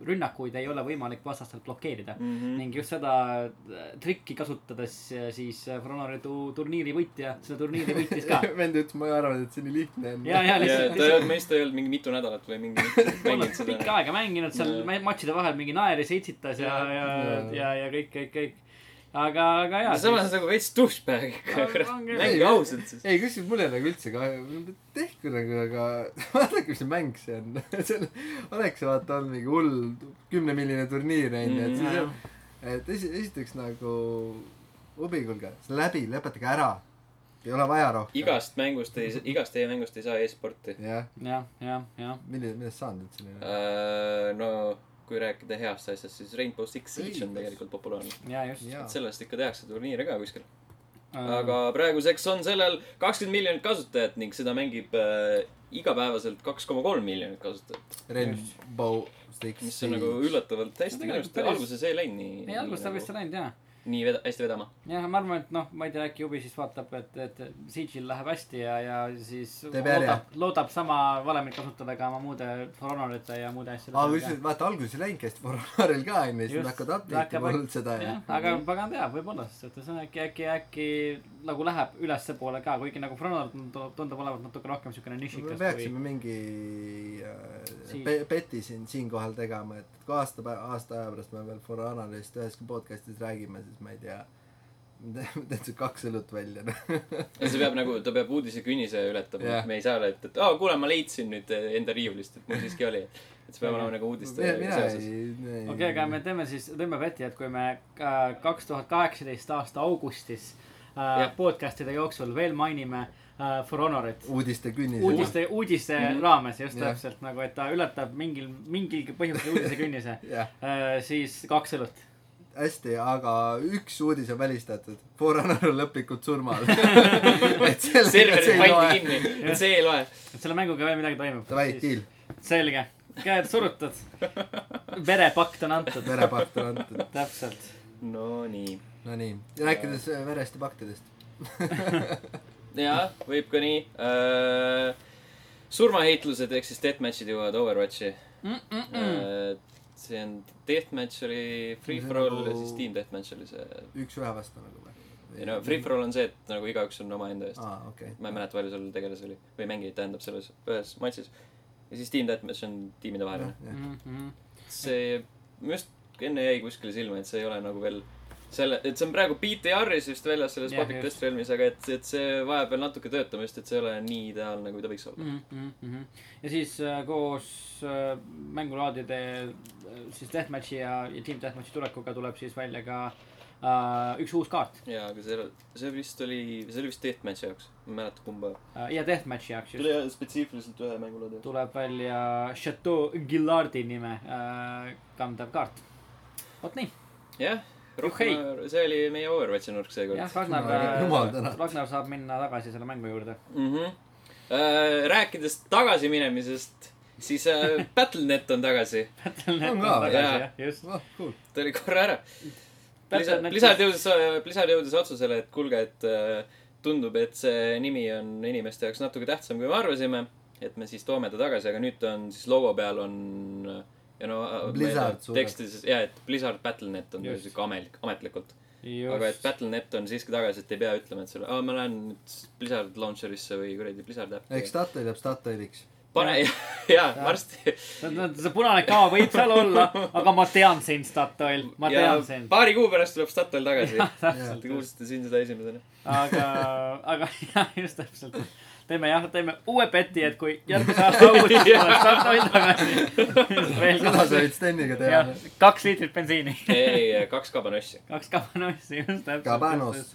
C: rünnakuid ei ole võimalik vastastelt blokeerida .
A: Mhm.
C: ning just seda äh, trikki kasutades äh, siis Fornone turniiri võitja , seda turniiri võitis ka .
B: vend ütles , ma ei arvanud , et see nii lihtne on .
C: ja , ja
A: ja
C: lihtsalt ,
A: ta ei olnud
C: lihtsalt
A: meist , ta ei olnud mingi mitu nädalat või mingi mitu- mänginud
C: olles pikka
A: seda .
C: aega mänginud seal
A: Jaa.
C: mä- matšide vahel mingi naeris , itsitas ja , ja ,
B: Jaa.
C: ja , ja kõik , kõik , kõik . aga , aga jaa .
A: samas nagu veits douchebag ikka ,
C: On-
A: kurat .
C: ongi-
A: mängi ausalt siis .
B: ei , kusjuures mul ei ole nagu üldse kahju , tehku nagu , aga vaadake , mis see mäng see on . seal oleks vaata olnud mingi hull kümnemiljoni turniir onju , et
A: Mm,
B: siis , et esi- , esiteks nagu , obi , kuulge , see läbi , lõpetage ära . ei ole vaja rohkem .
A: igast mängust ei , igast teie mängust ei saa e-sporti .
B: jah ,
C: jah , jah , jah .
B: milline , millest saanud üldse nii ?
A: Äh, no kui rääkida heast asjast , siis Rainbow Six Siege on tegelikult populaarne .
C: ja just .
B: Jaa.
A: et sellest ikka tehakse turniire ka kuskil . aga praeguseks on sellel kakskümmend miljonit kasutajat ning seda mängib äh, igapäevaselt kaks koma kolm miljonit kasutajat .
B: Rainbow Six
A: mis on nagu üllatavalt hästi minu
C: Tegelikult
A: arust ,
C: päris-
A: alguses ei läinud nii .
C: ei , alguses ta vist ei läinud jaa .
A: läinud . nii veda- , hästi vedama .
C: jah , ma arvan , et noh , ma ei tea , äkki Ubisoft vaatab , et , et Siege'il läheb hästi ja , ja siis
B: Teeb järje.
C: loodab , loodab sama valemit kasutada ka oma muude For Honorite ja muude asjade
B: aa , kusjuures vaata alguses ei läinudki hästi Fornaril ka onju , siis
C: Just.
B: nad hakkavad update
C: Hakkab-
B: ima hullult seda ja
C: jah , aga pagan teab , võib-olla , sest et see on äkki , äkki , äkki nagu läheb ülespoole ka , kuigi nagu Fronal tundub tundub olevat natuke rohkem siukene
B: me
C: nišikas kui
B: peaksime mingi äh,
C: Siin-
B: pe- peti siin siinkohal tegema , et kui aasta , aasta aja pärast me veel Fornarist üheski podcast'is räägime , siis ma ei tea , täitsa kaks õlut välja .
A: ja see peab nagu , ta peab uudisekünnise ületama
B: Jah.
A: yeah. . me ei saa olla , et , et aa , kuule , ma leidsin nüüd eh, enda riiulist , et mul siiski oli . et see peab olema nagu uudiste
B: mina , mina
A: seoses .
B: ei .
C: okei , aga me teeme siis , teeme peti , et kui me kaks tuhat kaheksateist aasta augustis äh,
A: Jah.
C: podcast'ide jooksul veel mainime äh, For Honorit
B: uudiste künnis .
C: uudiste , uudiste
A: Mhm.
C: raames just
B: Jah.
C: täpselt nagu , et ta ületab mingil , mingilgi põhjusel uudisekünnise ,
B: jah ,
C: siis kaks õlut .
B: hästi , aga üks uudis on välistatud . Forerunner on lõplikult surmal . et selle , see
A: serverid
B: ei
A: pandi
B: loe .
A: kinni , et see ei loe .
C: et selle mänguga veel midagi toimub .
B: Davai , deal .
C: selge , käed surutud , verepakt on antud ,
B: verepakt on antud .
C: täpselt .
A: Nonii .
B: Nonii , rääkides äh, verest ja paktidest .
A: jaa , võib ka nii äh, . surmaheitlused ehk siis deathmatch'id jõuavad Overwatchi
C: Mm.
A: Äh, see on Deathmatch oli Free
B: See
A: for all
B: nagu-
A: ja siis Team Deathmatch oli see .
B: üks-ühe vastu nagu või ?
A: ei no Free for all on see , et nagu igaüks on omaenda eest .
B: aa , okei
A: ma ei mäleta , palju seal tegelasi oli või mängijaid , tähendab selles ühes matšis . ja siis Team Deathmatch on tiimide
B: Jah,
A: vaheline .
C: Mm.
B: jah.
A: see , minu arust enne jäi kuskile silma , et see ei ole nagu veel selle , et see on praegu BTR-is vist väljas selles
C: Jah,
A: Pocket
C: just.
A: Test Realmis , aga et , et see vajab veel natuke töötamist , et see ei ole nii ideaalne , kui ta võiks olla .
C: ja siis äh, koos äh, mängulaadide äh, siis Deathmatchi ja , ja Team Deathmatchi tulekuga tuleb siis välja ka äh, üks uus kaart
A: jaa , aga see , see vist oli , see oli vist Deathmatchi jaoks , ma ei mäleta , kumba .
C: äh, ja Deathmatchi jaoks just
A: spetsiifiliselt ühe mängulaadi jaoks .
C: tuleb välja Chateau Gillardi nime äh, kandev kaart . vot nii ,
A: jah , Ragnar , see oli meie Overwatchi nurk seekord
C: jah , Ragnar äh,
B: Jumal tänatud. ,
C: Ragnar saab minna tagasi selle mängu juurde .
A: mm . -hmm. Äh, rääkides tagasiminemisest , siis äh, Battle.net on tagasi .
B: on ka ?
A: jaa.
C: jah , just .
B: ah , cool .
A: ta oli korra ära .
C: Battle.net
A: Blizzard jõudis , Blizzard jõudis otsusele , et kuulge , et äh, tundub , et see nimi on inimeste jaoks natuke tähtsam , kui me arvasime . et me siis toome ta tagasi , aga nüüd ta on siis logo peal on äh, ja no äh,
B: Blizzard suurelt.
A: tekstis ja , et Blizzard Battle.net on
C: Just.
A: sihuke ametlik , ametlikult .
C: Just.
A: aga et Battle.net on siiski tagasi , et ei pea ütlema , et selle , aa , ma lähen nüüd Blizzard launcher'isse või kuradi Blizzard
B: eks
A: äppi .
B: Statoil jääb Statoiliks .
A: pane , jaa , varsti .
C: see punane kava võib seal olla , aga ma tean sind , Statoil , ma
A: ja
C: tean sind .
A: paari kuu pärast tuleb Statoil tagasi .
B: täpselt.
A: Te kuulsite siin seda esimesena .
C: aga , aga jah , just täpselt . teeme jah , teeme uue peti , et kui järgmise aasta augustis tuleb Statoil tagasi . veel
B: seda sa
C: kaks ,
B: võid Steniga teha
C: jah , kaks liitrit bensiini .
A: ei , kaks kabanossi .
C: kaks kabanossi , just täpselt .
B: Kabanos.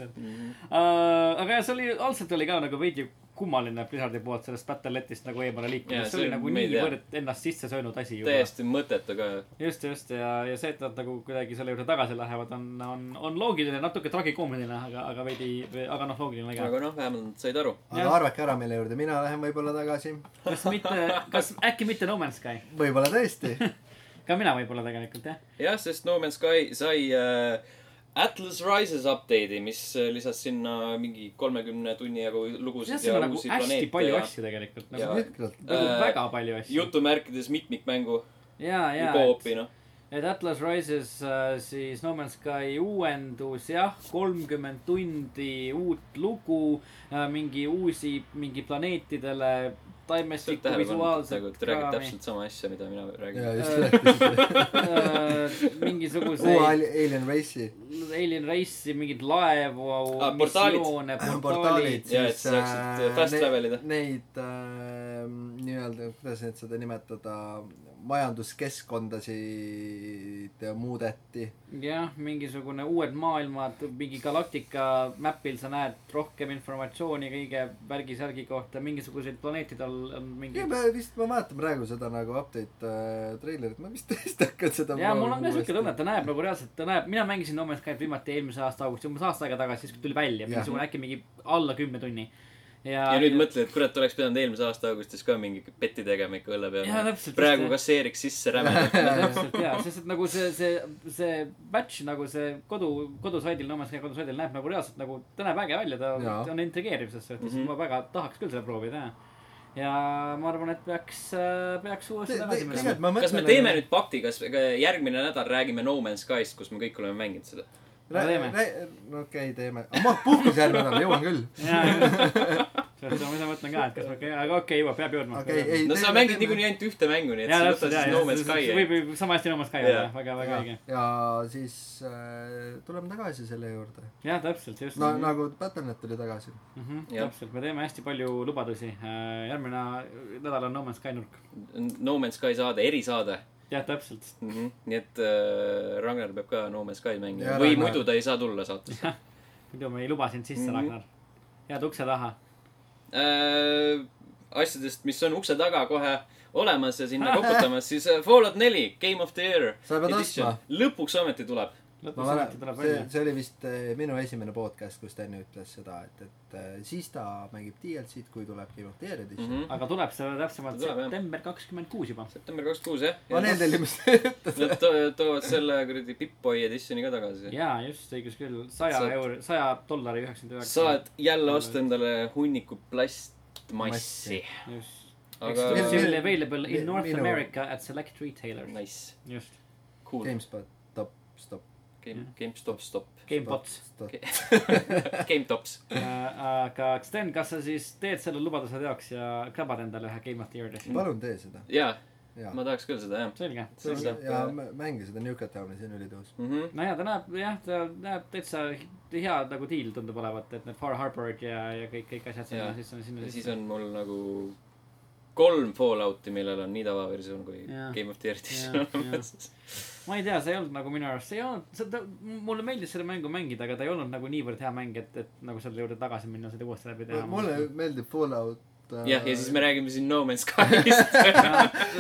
C: aga jah , see oli , algselt oli ka nagu veidi kummaline Blizzardi poolt sellest Battle.netist nagu eemale
A: Jaa,
C: liikumine . see
A: see
C: oli nagu
A: me ei tea.
C: niivõrd ennast sisse söönud asi juba .
A: täiesti mõttetu ka .
C: just , just ja , ja see , et nad nagu kuidagi selle juurde tagasi lähevad , on , on , on loogiline , natuke tragikoomiline , aga , aga veidi , aga noh , loogiline ka .
A: aga noh , vähemalt nad said aru .
B: aga
C: Jah.
B: arvake ära , mille juurde mina lähen võib-olla tagasi .
C: kas mitte , kas äkki mitte No Man's Sky ?
B: võib-olla tõesti .
C: ka mina võib-olla tegelikult jah .
A: jah , sest No Man's Sky sai äh, Atlas Rises update'i , mis äh, lisas sinna mingi kolmekümne tunni jagu lugusid
C: siin
A: ja
C: on nagu
A: uusi
C: hästi palju
A: planeete ja
C: asju tegelikult ,
A: ja-
C: nagu
B: jõhkralt .
C: nagu
A: Äh,
C: väga palju asju .
A: jutumärkides mitmikmängu
C: ja ,
A: ja
C: ja ,
A: co-op'i noh .
C: et Atlas Rises äh, siis No Man's Sky uuendus jah , kolmkümmend tundi uut lugu , mingi uusi , mingi planeetidele
A: saad
C: taimestiku
A: tähele panna , et
C: visuaalset
A: nagu ta räägib täpselt sama asja , mida mina
B: ja
A: räägin .
B: just rääkisid .
C: äh,
B: uue
C: mingisuguseid
B: ali- Alien Race'i
C: alien race'i , mingeid laevu
A: Ah, , portaalid.
C: missioone ,
B: Ah, portaalid
C: portaalid .
A: Jaa, et saaksid, äh, fast
B: ne-
A: travel ida.
B: Neid äh, nii-öelda , kuidas neid seda nimetada , majanduskeskkondasid äh, muudeti .
C: jah , mingisugune uued maailmad , mingi galaktika mapil sa näed rohkem informatsiooni kõige värgi-särgi kohta , mingisuguseid planeetide all on mingi
B: ja . ma vist , ma vaatan praegu seda nagu update äh, treilerit , ma vist tõesti hakkan seda
C: ja mul on ka siuke tunne , et ta näeb nagu reaalselt , ta näeb , mina mängisin No Man's Skype'i viimati eelmise aasta augustis , umbes aasta aega tagasi , siis kui tuli välja ,
B: Jah.
C: mingisugune äkki mingi alla kümne tunni . ja,
A: ja nüüd mõtled , et kurat , oleks pidanud eelmise aasta augustis ka mingi petti tegema ikka õlle
C: Jaa,
A: peale
C: täpselt, .
A: praegu
C: just, jah.
A: kasseeriks sisse rämedalt .
C: täpselt jaa , sest et nagu see , see , see match nagu see kodu , kodusaidil , No Man's Sky kodusaidil näeb nagu reaalselt nagu , ta näeb äge välja , ta
B: Jaa.
C: ta on intrigeeriv selles suhtes mm ,
A: Mhm.
C: -hmm. ma väga tahaks küll seda proovida jah . ja ma arvan , et peaks , peaks uuesti tagasi minema .
A: kas me teeme nüüd pakti , kas järgmine nädal räägime No Man's Skyst , kus me kõik oleme mänginud seda ?
C: No teeme.
B: no okei , teeme . ma puhkus järgmine nädal , jõuan küll .
C: seda ma ise mõtlen ka , et kas ma , aga okei , jõuab , peab jõudma .
B: okei , ei .
A: no sa mängid niikuinii ainult ühte mängu , nii et
C: jaa ,
A: sa
C: täpselt
A: võtad
C: jaa ,
A: siis No Man's Sky
C: jaa . võib , võib sama hästi No Man's Sky olla
A: Jaa. ,
C: väga , väga
B: ja,
C: õige .
B: ja siis äh, tuleme tagasi selle juurde .
C: jah , täpselt , just
B: no . nagu Battle.net tuli tagasi .
C: Mhm,
A: Jah.
C: täpselt , me teeme hästi palju lubadusi . järgmine nädal on No Man's Sky nurk .
A: ja No Man's Sky saade , erisaade
C: jah , täpselt .
A: mm . -hmm. nii et äh, Ragnar peab ka No Man's Sky mängima
B: Ja
A: või
B: Ragnar.
A: muidu ta ei saa tulla saatesse
C: muidu me ei luba sind sisse mm ,
A: Mhm.
C: -hmm. Ragnar . jääd ukse taha .
A: äh, . asjadest , mis on ukse taga kohe olemas ja sinna koputamas , siis äh, Fallout neli , Game of the Year .
B: sa pead ostma .
A: lõpuks ometi tuleb .
B: ma
C: lõpuks ometi
B: mäletan ,
C: tuleb
B: see
C: välja .,
B: see oli vist äh, minu esimene podcast , kus Sten ütles seda , et , et äh, siis ta mängib DLC-d , kui tuleb Game of the Year
A: mm .
B: edition mm .
A: -hmm.
C: aga tuleb see täpsemalt
A: Ta tuleb, jah.
C: september kakskümmend kuus juba .
A: september kakskümmend kuus jah
B: -hmm. . ma need olin just ütelnud .
A: Nad to- toovad selle kuradi Pip-Boy editioni ka tagasi .
C: jaa , just , õigus küll . saja
A: Saad-
C: euri , saja dollari üheksakümmend üheksa .
A: saad jälle osta endale hunniku plastmassi
B: Massi. .
C: just .
A: aga
C: Exclusively available
B: mi-
C: in North
B: minu-
C: America at select retailers .
A: nice ,
C: just .
A: cool .
B: GameSpot , top , stop .
A: Game , GameStop , stop .
C: Gamebots .
B: stop .
A: GameTops .
C: aga Sten , kas sa siis teed selle lubaduse teoks ja krabad endale ühe Game of the Year'i ?
B: palun tee seda .
A: jaa ,
B: jaa .
A: ma tahaks küll seda jah .
C: selge .
A: See on- saab-
B: ja mä- mängi seda Newcatowni , see on ülitõus .
A: Mm -hmm.
C: no jaa , ta näeb jah , ta näeb täitsa hea nagu deal tundub olevat , et need Far Harborid ja , ja kõik , kõik asjad sinna
A: Jaa.
C: sisse , sinna
A: ja siis
C: sisse .
A: on mul nagu kolm Fallouti , millel on nii tavaversioon kui
C: Jaa.
A: Game of the Year edition
C: Jaa,
A: olemas .
C: ma ei tea , see ei olnud nagu minu arust , see ei olnud , see ta , mulle meeldis seda mängu mängida , aga ta ei olnud nagu niivõrd hea mäng , et , et nagu selle juurde tagasi minna , seda uuesti läbi teha .
B: mulle meeldib Fallout . äh,
A: jah , ja siis me räägime siin No Man's Skyst .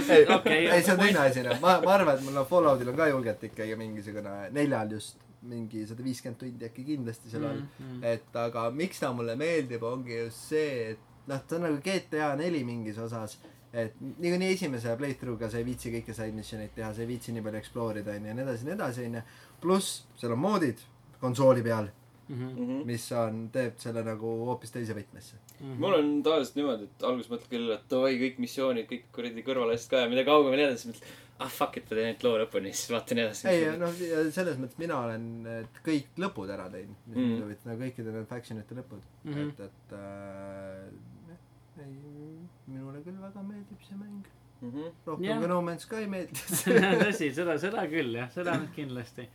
B: ei ,
C: okei,
B: ei , see on teine asi , noh , ma , ma arvan , et mul on Falloutil on ka julgelt ikkagi mingisugune neljal just mingi sada viiskümmend tundi äkki kindlasti seal on .
A: Mm,
B: et aga miks ta mulle meeldib , ongi just see , et noh , ta on nagu GTA neli mingis osas , et niikuinii esimese playthrough'ga sa ei viitsi kõiki side mission eid teha , sa ei viitsi nii palju explore ida , onju , ja nii edasi , nii edasi , onju . pluss seal on moodid konsooli peal ,
C: Mhm.
B: mis on , teeb selle nagu hoopis teise võtmesse .
A: mul on tavaliselt niimoodi , et alguses mõtled küll , et davai , kõik missioonid , kõik kuradi kõrvalasjad ka ja mida kaugemale jääda , siis mõtled , ah fuck it , ma teen ainult loo lõpuni , siis vaatan edasi .
B: ei , noh , selles mõttes mina olen et kõik lõpud ära teinud , mis
A: Mm.
B: mind huvitavad , no kõikide need faction'ite lõpud mm ,
C: Mhm.
B: -hmm. et , et äh, jah, ei , minule küll väga meeldib see mäng ,
A: Mhm.
B: rohkem
C: Jah.
B: yeah. kui No Man's Sky meeldis .
C: tõsi , seda , seda küll jah , seda nüüd kindlasti .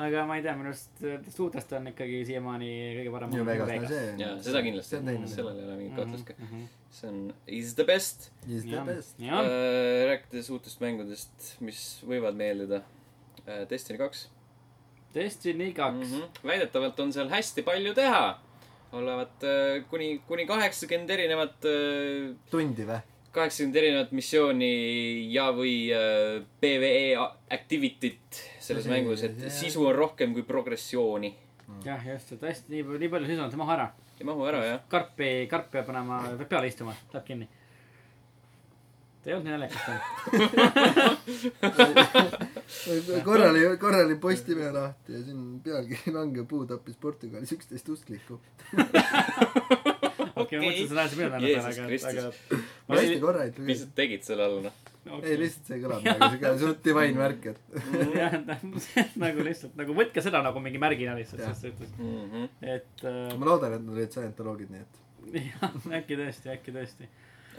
C: aga ma ei tea , minu arust äh, suhtest on ikkagi siiamaani kõige parem . Mhm,
B: New Vegas , no see on .
A: jaa , seda
B: see
A: kindlasti
B: on , teine Mhm.
A: sellel
B: selle .
A: ei ole mingit kahtlust ka . see on Is the best .
B: Is the best .
A: Äh,
C: jah ,
A: rääkides uutest mängudest , mis võivad meeldida äh, . Destiny kaks .
C: Destiny kaks .
A: -hmm. väidetavalt on seal hästi palju teha . olevat äh, kuni , kuni kaheksakümmend erinevat , äh,
B: tundi või ?
A: kaheksakümmend erinevat missiooni ja , või äh, PVE a- activity't selles
B: See-
A: mängus , et
B: see-
A: sisu on rohkem kui progressiooni .
B: Mm.
C: jah , just , et hästi nii , nii palju sisu on , see maha ära .
A: ei mahu ära , jah .
C: karpi , karp peab panema , peab peale istuma , läheb kinni . ta ei olnud nii naljakas olnud .
B: korra oli , korra oli Postimehe lahti ja siin pealkiri Lange puu tappis Portugalis üksteist usklikku .
C: okei , ma mõtlesin , et sa lähed minu peale
A: Jeesus
C: peale , aga ,
A: Kristus.
C: Ma
B: hästi
A: mis
B: korra ei tule .
A: sa tegid selle all , noh ?
C: aga okei.
B: ei ,
C: Mm.
B: lihtsalt see kõlab nagu siuke suht divain värk , et
C: jah , nagu lihtsalt nagu võtke seda nagu mingi märgina lihtsalt ,
B: Jah.
C: sest ütles ,
A: Mhm.
C: et äh,
B: ma loodan , et nad olid scientoloogid , nii et
C: jah , äkki tõesti , äkki tõesti ,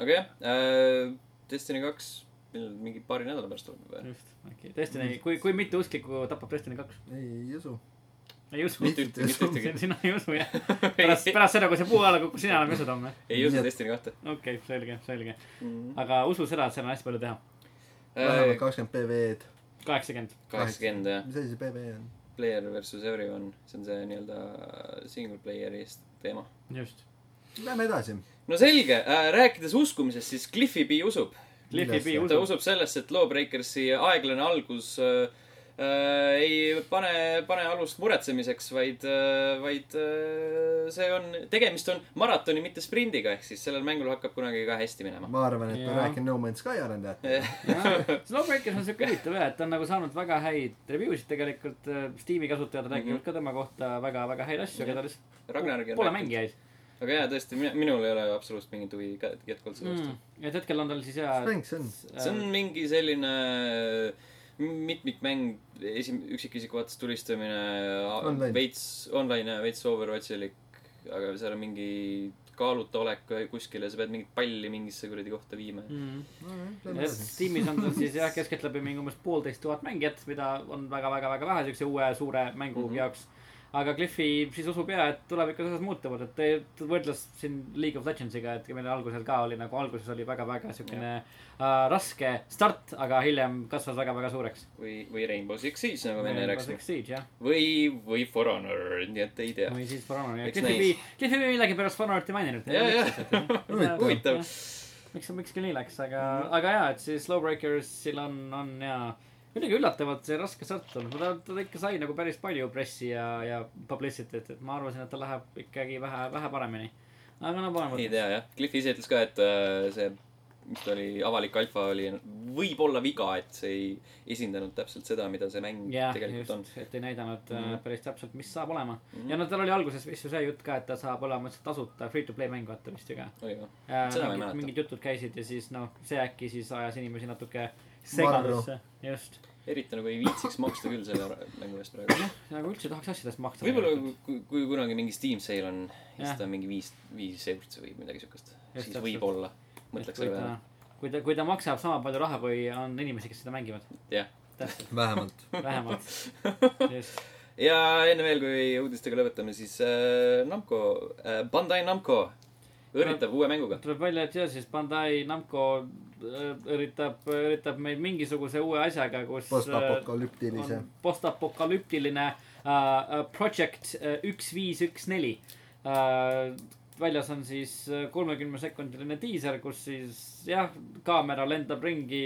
A: aga jah äh, , Destiny kaks , millal mingi paari nädala pärast tuleb või ?
C: just , äkki tõesti nii , kui , kui mitu usklikku tapab Destiny kaks ?
B: ei ei usu .
C: ei usu ,
A: mitte ühtegi , mitte ühtegi .
C: sina ei usu jah , pärast , pärast seda , kui see puu alla kukkus , sina enam ei usu tamme .
A: ei usu Destiny kahte .
C: okei okay, , selge , selge , aga usu seda , et seal on hästi palju teha ,
B: vähemalt kakskümmend PV-d .
C: kaheksakümmend ,
A: Äh, kaheksakümmend jah ,
B: mis asi see PV on ?
A: player versus everyone , see on see nii-öelda single player'ist teema .
C: just .
B: Lähme edasi .
A: no selge äh, , rääkides uskumisest , siis Cliffi B usub .
C: Cliffi B
A: ta
C: usub ,
A: usub sellesse , et Lawbreakersi aeglane algus äh, äh, ei pane , pane alust muretsemiseks , vaid äh, , vaid äh, see on , tegemist on maratoni , mitte sprindiga , ehk siis sellel mängul hakkab kunagi ka hästi minema .
B: ma arvan , et ma
C: Jaa.
B: räägin No Man's Sky arendajatele .
C: Snowbreakers on siuke huvitav jah , et ta on nagu saanud väga häid review sid tegelikult , Steam'i kasutajad
A: Mhm.
C: räägivad ka tema kohta väga-väga häid asju , aga ta lihtsalt
A: Ragnargi on
C: pole
A: rääkinud.
C: mängijaid
A: aga jaa , tõesti , minul ei ole absoluutselt mingit huvi ka- jätkuvalt selle vastu
C: mm. . et hetkel on tal siis äh, hea
B: mis mäng see on ?
A: see on mingi selline mitmikmäng , esim- , üksikisiku vaates tulistamine
B: Online. ,
A: veits online ja veits overwatchilik , aga seal on mingi kaaluta olek kuskil ja sa pead mingit palli mingisse kuradi kohta viima mm. .
C: mm.
B: Lähme
C: Ja
B: edasi .
C: Steamis on tal siis jah , keskeltläbi mingi umbes poolteist tuhat mängijat , mida on väga-väga-väga vähe siukse uue suure mängu mm
A: Mhm.
C: -hmm. jaoks . aga Cliffi siis usub ja , et tulevikus asjad muutuvad , et ta- ta võrdles siin League of Legendsiga , et meil algusel ka oli nagu alguses oli väga-väga siukene äh, raske start , aga hiljem kasvas väga-väga suureks .
A: või , või Rainbow Six Siege , nagu me enne rääkisime .
C: jah ,
A: või , või For Honor , nii et ei tea .
C: või siis Fornari .
A: Eks
C: Cliffi
A: näis.
C: B , Cliffi B millegipärast Fornarit ei maininud .
A: ja , ja , huvitav .
C: miks , miks küll nii läks , aga mm ,
A: Mhm.
C: -hmm. aga jaa , et siis Slowbreakersil on , on ja kuidagi üllatavalt see raske start olnud , ta , ta ikka sai nagu päris palju pressi ja , ja publicity't , et ma arvasin , et ta läheb ikkagi vähe , vähe paremini . aga no
A: ei
C: parem .
A: tea jah , Cliff ise ütles ka , et äh, see , mis ta oli , avalik alfa oli võib-olla viga , et see ei esindanud täpselt seda , mida see mäng
C: jah ,
A: tegelikult on
C: just ., et ei näidanud mm
A: Mhm.
C: -hmm. päris täpselt , mis saab olema mm .
A: Mhm.
C: -hmm. ja no tal oli alguses vist ju see jutt ka , et ta saab olema lihtsalt tasuta free to play mäng , vaata vist ju ka .
A: oli või ? Seda ma ei
C: mingid ,
A: mäleta.
C: mingid jutud käisid ja siis noh , see äkki siis ajas inimesi natuke
B: Marru.
C: segadusse , just .
A: eriti nagu ei viitsiks maksta küll selle ra- mängu eest praegu .
C: nagu üldse ei tahaks asjadest maksta .
A: võib-olla kui , kui kunagi mingi Steam sale on ja
C: Jah.
A: siis ta on mingi viis , viis eurot või midagi siukest , siis
C: täpselt.
A: võib-olla mõtleks selle peale .
C: peale . kui ta , kui ta maksab sama palju raha , kui on inimesi , kes seda mängivad .
A: jah .
C: täpselt ,
B: vähemalt .
C: vähemalt . just ,
A: ja enne veel , kui uudistega lõpetame , siis äh, Namco äh, , Bandai Namco õrritab uue mänguga .
C: tuleb välja , et jah , siis Bandai Namco äh, üritab , üritab meid mingisuguse uue asjaga , kus äh,
B: postapokalüptilise
C: on . postapokalüptiline äh, Project üks , viis , üks , neli . väljas on siis kolmekümne sekundiline diiser , kus siis jah , kaamera lendab ringi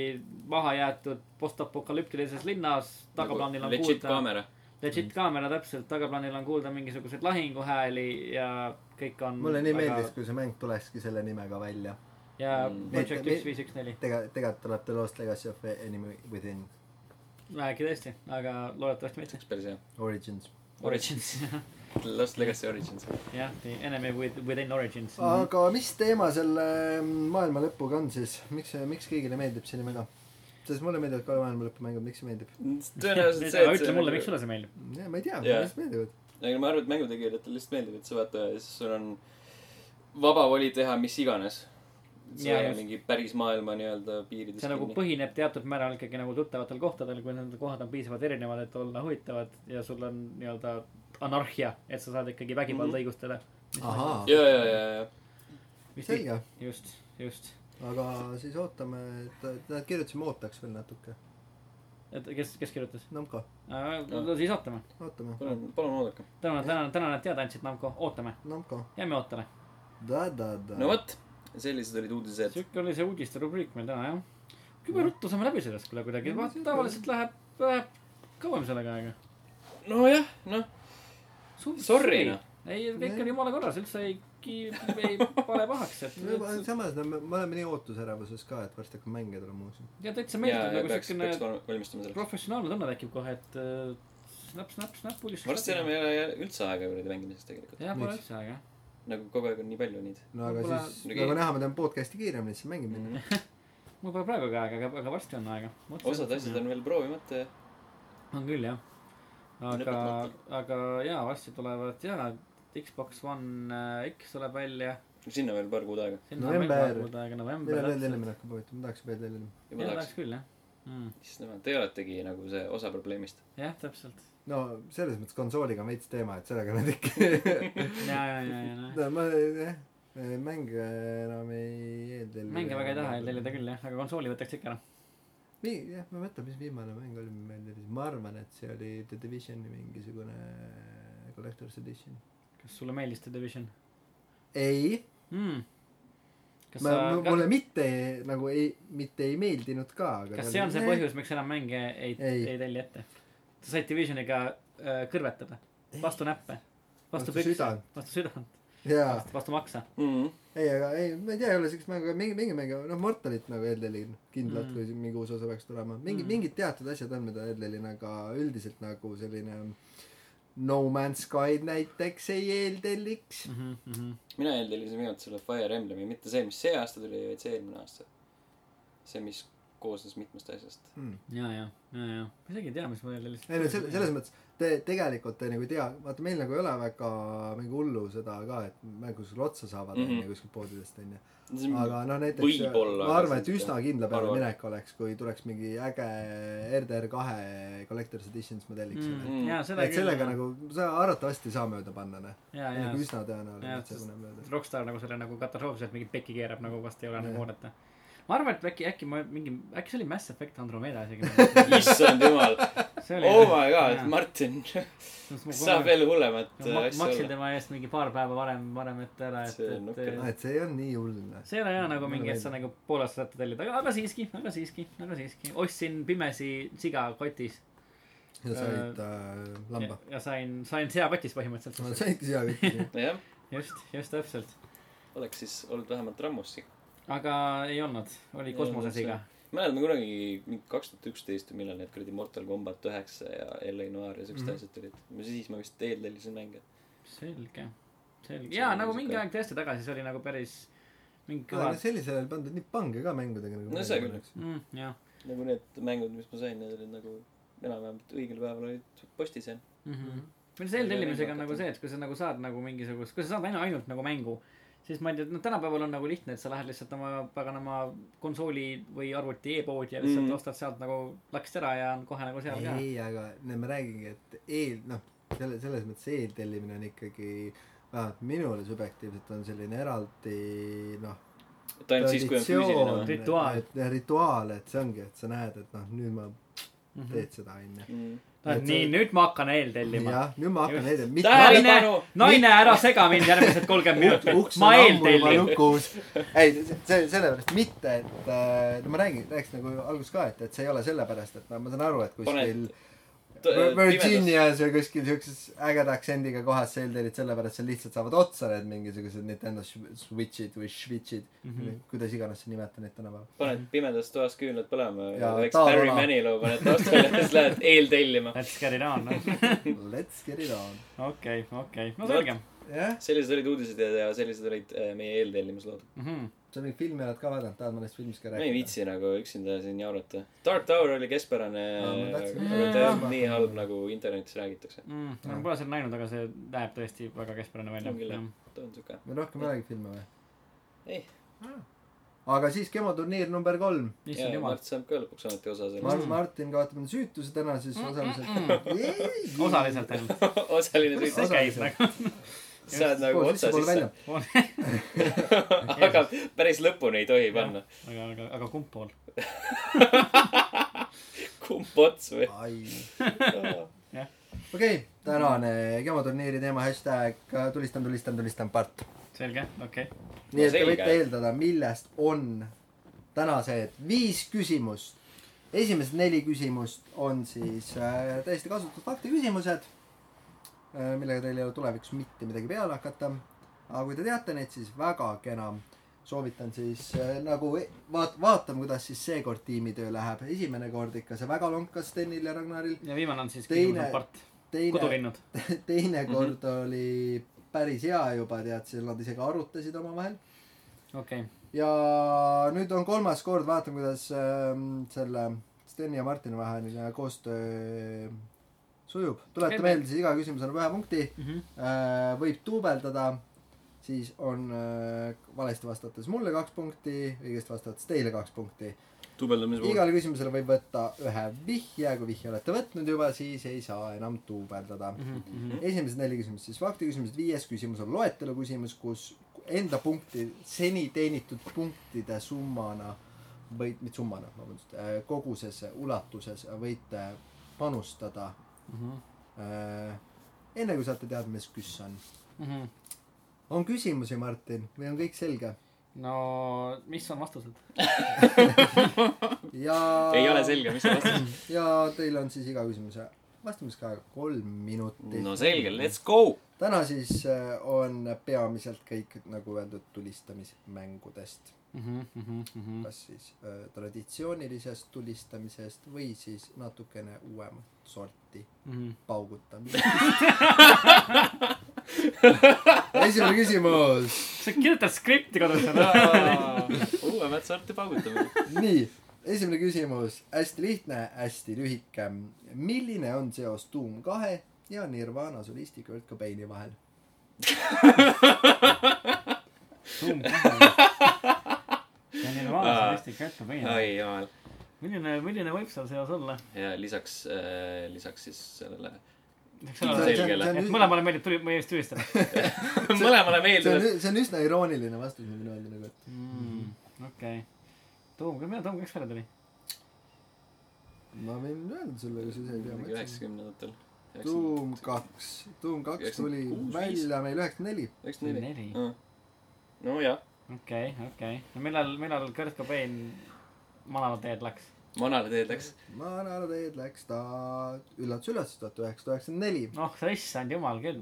C: mahajäetud postapokalüptilises linnas , tagaplaanil on
A: Nagu legit
C: kuulda
A: kaamera .
C: legit
A: Mhm.
C: kaamera täpselt , tagaplaanil on kuulda mingisuguseid lahinguhääli ja kõik on .
B: mulle nii meeldis ,. kui see mäng tulekski selle nimega välja .
C: ja
A: Mm.
C: Project
B: Me- me-
C: üks , viis , üks , neli .
B: tega- , tegelikult tuleb The Lost Legacy of Enemy Within
C: äkki tõesti , aga loodetavasti mitte .
A: oleks päris hea .
B: Origins .
A: Origins. . Lost Legacy Origins .
C: jah , nii Enemy with , Within Origins . Mhm.
B: aga mis teema selle maailma lõpuga on siis , miks , miks kõigile meeldib see nimega ? sest mulle meeldivad ka maailma lõpumängud , miks see meeldib ?
A: tõenäoliselt see , nagu et
C: ütle mulle , miks sulle see meeldib .
B: ma ei tea ,
A: Jaa.
B: mulle lihtsalt meeldivad .
A: aga ma arvan , et mängutegijatele lihtsalt meeldib , et sa vaata , siis sul on vaba voli teha mis iganes . see
C: Jaa,
A: ei ole
C: just.
A: mingi päris maailma nii-öelda piirides
C: see nagu põhineb teatud määral ikkagi nagu tuttavatel kohtadel , kui need kohad on piisavalt erinevad , et olla huvitavad ja sul on nii-öelda anarhia , et sa saad ikkagi vägivalda mm
A: Mhm.
C: -hmm. õigustada .
B: ahaa ,
A: ja , ja , ja , ja ,
B: selge .
C: just , just .
B: aga siis ootame , et , et nad kirjutasime ootaks veel natuke .
C: et kes , kes kirjutas ?
B: Namco ,
C: no siis ootame .
B: ootame .
A: palun , palun oodake .
C: tänan , tänan , tänan , et teada andsid , Namco , ootame ,
B: Namco ,
C: jääme ootele .
B: da-da-da .
A: no vot , sellised olid uudised .
C: sihuke oli see uudiste rubriik meil täna jah . jube ruttu saame läbi sellest kuule kuidagi , vaata tavaliselt läheb , läheb kauem sellega aega .
A: nojah , noh , Sorry, noh.
C: ei , kõik
B: Jah.
C: oli jumala korras , üldse ei äkki ei pane pahaks , et nüüd...
B: samas , no me me oleme nii ootusärevuses ka , et varsti hakkab mänge tulema uusi .
C: ja täitsa
A: ja ,
C: meeldib
A: ja
C: nagu
A: peaks ,
C: siukene
A: peaks val- valmistuma selleks .
C: professionaalne tunne tekib kohe , et äh, snap , snap , snap pulistus
A: varsti enam ei ole üldse aega kuradi mängimiseks tegelikult .
C: jah , pole
B: Miks?
C: üldse aega .
A: nagu kogu aeg on nii palju neid .
B: no aga
C: Võib-olla-
B: siis , nagu näha , me teeme podcast'i kiiremini , siis mängime
C: Mhm.
B: mm .
C: mul pole praegu ka aega , aga , aga varsti on aega .
A: osad asjad on veel proovimata ja
C: on küll jah . aga
A: Lõpetamata. ,
C: aga jaa , varsti tulevad jaa , Xbox One äh, X tuleb välja .
A: sinna veel paar kuud aega .
B: November.
C: aega
B: -hmm. millal
C: november .
B: veel ennem hakkab huvitav , ma tahaks veel ennem .
A: juba tahaks
C: tahaks . küll jah mm. .
A: issand jumal , teie oletegi nagu see osa probleemist .
C: jah , täpselt .
B: no selles mõttes konsooliga on veits teema , et sellega nad ikka ,
C: ja , ja , ja , ja , ja .
B: no ma jah , mänge enam ei eeldellida .
C: mänge väga ei taha tellida . küll jah , aga konsooli võtaks ikka ära .
B: nii , jah , ma mõtlen , mis viimane mäng oli , mis meil oli , ma arvan , et see oli The Divisioni mingisugune collector's edition .
C: kas sulle meeldis The Division
B: ei ,
C: mm. ? kas
B: ma
C: sa ,,
B: mulle mitte nagu ei , mitte ei meeldinud ka , aga eh,
C: kas see on see põhjus , miks enam mänge ei, ei.
B: Ei. ,
C: ei telli ette ? sa said Divisioniga äh, kõrvetada , vastu näppe , vastu
B: Vastu
C: pükse
B: südant. ,
C: vastu südant ,
B: jaa ,
C: vastu maksa .
A: Mhm.
B: ei , aga ei , ma ei tea , ei ole siukest mängu , mingi , mingi mängu , noh , Mortalit nagu eeldelin kindlalt
C: Mm.
B: mm. , kui siin mingi uus osa peaks tulema . mingi
C: Mm.
B: mm. , mingid teatud asjad on , mida eeldelin , aga üldiselt nagu selline No Man's Sky näiteks ei eeldelliks .
C: Mhm,
A: mina eeldelsin minu arust selle Fire Emblemi , mitte see , mis see aasta tuli , vaid see eelmine aasta . see , mis koosnes mitmest asjast .
B: Mm.
C: ja , ja , ja , ja , ma isegi ei tea , mis mul jälle
B: ei no selles , selles mõttes te tegelikult te nagu ei tea , vaata meil nagu ei ole väga mingi hullu seda ka , et mängud sulle otsa saavad
A: Mhm.
B: onju mm -hmm. kuskilt poodidest onju . aga noh , näiteks
A: Võib-olla,
B: ma arvan ,
A: aga
B: et
A: siis-
B: üsna kindla peale
A: arvan.
B: minek oleks , kui tuleks mingi äge RDR kahe Collector's Edition , siis ma telliks selle .
C: mm. . ja seda
B: et sellega . nagu sa arvatavasti ei saa mööda panna noh
C: ja , ja
B: nagu üsna
C: Jaa,
B: tõenäoline et see
C: sest-
B: paneb mööda
C: Rockstar nagu selle nagu katastroofiliselt mingit pekki keerab nagu vast ei ole nagu
B: Jah.
C: oodata . ma arvan , et äkki , äkki ma mingi , äkki see oli Mass Effect Andromeda isegi .
A: issand jumal ,
C: see oli
A: oh my god
C: Jaa. ,
A: Martin ,
C: Sest ma
A: kas
C: kogu
A: saab
C: aeg-
A: veel hullemat
C: ma
A: äh, asja
C: maksin
A: olla ?
C: tema eest mingi paar päeva varem , varem ette ära , et ,
A: See on
C: et
A: nukker.
B: aa
C: eh,
B: et see ei olnud nii hull noh
C: see ei ole hea nagu
B: Mulle
C: mingi , et sa
B: meeldib.
C: nagu pool aastat ette tellid , aga , aga siiski , aga siiski , aga siiski . ostsin pimesi siga kotis
B: ja said äh,
C: ja,
B: lamba
C: ja sain , sain seakotis
B: ma
C: põhimõtteliselt .
B: saingi siia kõik
A: nojah ,
C: just , just täpselt .
A: oleks siis olnud vähemalt rammus siin .
C: aga ei olnud , oli
A: Ei olnud,
C: kosmosesiga .
A: mäletan ma kunagi kaks tuhat üksteist või millal need kuradi Mortal Combat üheksa ja LA Noir ja siuksed
B: Mhm.
A: asjad tulid . siis ma vist eeltellisin mänge .
C: selge , selge .
A: See
C: jaa ,
A: oli
C: nagu
A: sihuke-
C: mingi aeg tõesti tagasi , see oli nagu päris mingi kõva
B: aga . sellisel ajal pandud nii pange ka mängudega nagu
A: No
B: praegu
A: see küll.
B: pannakse.
C: Mm, jah
A: nagu need mängud , mis ma sain , need olid nagu enam-vähem õigel päeval olid postis jah .
C: mm . -hmm. meil see eeltellimisega on
A: Ei,
C: nagu
A: ei,
C: see , et kui sa nagu saad nagu mingisugust , kui sa saad ainu- ainult nagu mängu , siis ma ei tea , noh , tänapäeval on nagu lihtne , et sa lähed lihtsalt oma paganama konsooli või arvuti e-poodi ja lihtsalt
A: Mhm.
C: mm. ostad sealt nagu lakst ära ja on kohe nagu seal ka .
B: ei aga no ma räägingi et eel noh selle selles mõttes eeltellimine on ikkagi vähemalt minule subjektiivselt on selline eraldi noh
A: et ainult siis , kui on füüsiline või ?
C: Rituaal.
B: et- ja rituaal et see ongi et sa näed et noh nüüd ma
C: Mhm.
B: teed seda onju et sa-
C: Noh, nii , nüüd ma hakkan eeltellima .
B: jah nüüd ma hakkan
C: Just.
B: leidma mitte
A: Tähele-
C: naine
A: Tähelepanu! ,
C: naine , ära sega mind järgmised kolmkümmend minutit , ma eeltellin .
B: lukus . ei , see , sellepärast mitte , et äh, no ma räägin , rääkisin nagu alguses ka , et , et see ei ole sellepärast , et no ma saan aru , et kuskil
A: Paned- äh,
B: Vir- Virginias või kuskil siukses ägeda aktsendiga kohas sa eeldelid sellepärast , seal lihtsalt saavad otsa need mingisugused Nintendo Sw- Switch'id või Switch'id mm , -hmm. kuidas iganes sa nimeta neid tänapäeval .
A: paned pimedas toas küünlad põlema ja
B: Ja
A: väikse
B: taevana.
A: Barry Manilow paned taustale ja siis lähed eeltellima .
C: Let's get it on , noh .
B: Let's get it on .
C: okei , okei , no
A: No
C: selge .
B: jah ,
A: sellised olid uudised ja , ja sellised olid äh, meie eeltellimislood .
C: Mhm,
B: sa mingit filmi oled ka vaadanud , tahad mõnest filmist ka
A: ma ei
B: rääkida ?
A: viitsi nagu üksinda siin jaurata . Dark Tower oli keskpärane
B: Aa, ma , tahtsin-
A: aga ta ei olnud nii halb , nagu internetis räägitakse .
C: mhm. ma pole seda näinud , aga see näeb tõesti väga keskpärane
A: On küll,
C: välja
A: jah. . ta on siuke , eh,
B: me rohkem ei räägi filme või ?
A: ei ,
B: aga siis kemoturniir number kolm .
A: ja
C: issand jumal ,
A: Mart saab ka lõpuks ometi osa
B: Mar-
A: sellest .
B: mm. , Martin kaotab enda süütuse täna siis osaliselt .
C: osaliselt ainult .
A: osaline
C: kuidas see
A: sõit ,
C: käib nagu ?
A: sa saad nagu otsa sisse , aga
C: aga ,
A: päris lõpuni ei tohi panna .
C: aga , aga kumb pool ?
A: kumb ots või ?
B: okei , tänane kemoturniiri teema hashtag tulistan , tulistan , tulistan part .
C: selge , okei okay. .
B: nii et te
A: Selge.
B: võite eeldada , millest on tänased viis küsimust . esimesed neli küsimust on siis äh, täiesti äh, kasutud faktiküsimused , millega teil ei ole tulevikus mitte midagi peale hakata . aga kui te teate neid , siis väga kena . soovitan siis äh, nagu e- vaat- , vaatame , kuidas siis seekord tiimitöö läheb . esimene kord ikka see väga lonkas Stenil ja Ragnaril .
C: ja viimane on siis
B: Teine-
C: küsimus on part ,
B: teine ,
C: kodulinnud .
B: teine kord oli päris hea juba , tead , seal nad isegi arutasid omavahel .
C: okei ,
B: ja nüüd on kolmas kord , vaatame , kuidas ähm, selle Steni ja Martini vaheline koostöö ehm, sujub . tuleta
C: Käib.
B: meelde , siis iga küsimus annab ühe punkti .
C: Mhm.
B: võib duubeldada , siis on äh, valesti vastates mulle kaks punkti , õigesti vastates teile kaks punkti .
A: duubeldamise puhul .
B: igale küsimusele võib võtta ühe vihje , kui vihje olete võtnud juba , siis ei saa enam duubeldada .
A: Mhm,
B: esimesed neli küsimust , siis faktiküsimused , viies küsimus on loetelu küsimus , kus enda punkti , seni teenitud punktide summana või mitte summana , vabandust , koguses ulatuses võite panustada
C: Mhm,
B: äh, enne kui saate teada , mis küss on .
C: mhm.
B: on küsimusi , Martin , või on kõik selge ?
C: no mis on vastused ?
B: ja
A: ei ole selge , mis see vastus on .
B: ja teil on siis iga küsimuse vastamiseks aega kolm minutit .
A: no selge , let's go .
B: täna siis äh, on peamiselt kõik , nagu öeldud , tulistamismängudest .
C: Mhm,
A: Mm.
B: kas siis äh, traditsioonilisest tulistamisest või siis natukene uuemat sorti
C: mhm.
B: paugutamisest . esimene küsimus .
C: sa kirjutad skripti kodus ära .
A: uuemat sorti paugutamine .
B: nii , esimene küsimus , hästi lihtne , hästi lühike . milline on seos Doom kahe ja Nirvana solisti Kurt Cobaini vahel ?
C: ja Nirvana solistid kätte peened .
A: oi jumal .
C: milline , milline võib seal seos olla ?
A: ja lisaks , lisaks siis sellele
C: et
A: selgele.
C: mõlemale meeldib tuli , meie eest tühistada .
A: mõlemale
B: see on
A: meeldib .,
B: see on üsna irooniline vastus , ma võin öelda nagu , et
A: Mm,
C: Mm. okei . Toom , millal Toom kaks välja tuli ?
B: ma võin öelda sulle , kui sa ise ei tea .
A: üheksakümnendatel .
B: Doom kaks , Doom kaks tuli
A: 96,
B: välja meil üheksakümmend neli .
A: üheksakümmend
C: Neli.
A: neli . nojah ,
C: okei , okei . no millal , millal Kurt Cobain manala teed läks ?
A: manale teed läks .
B: manala teed läks ta , üllatus-üllatus , tuhat üheksasada üheksakümmend neli .
C: noh , issand jumal küll .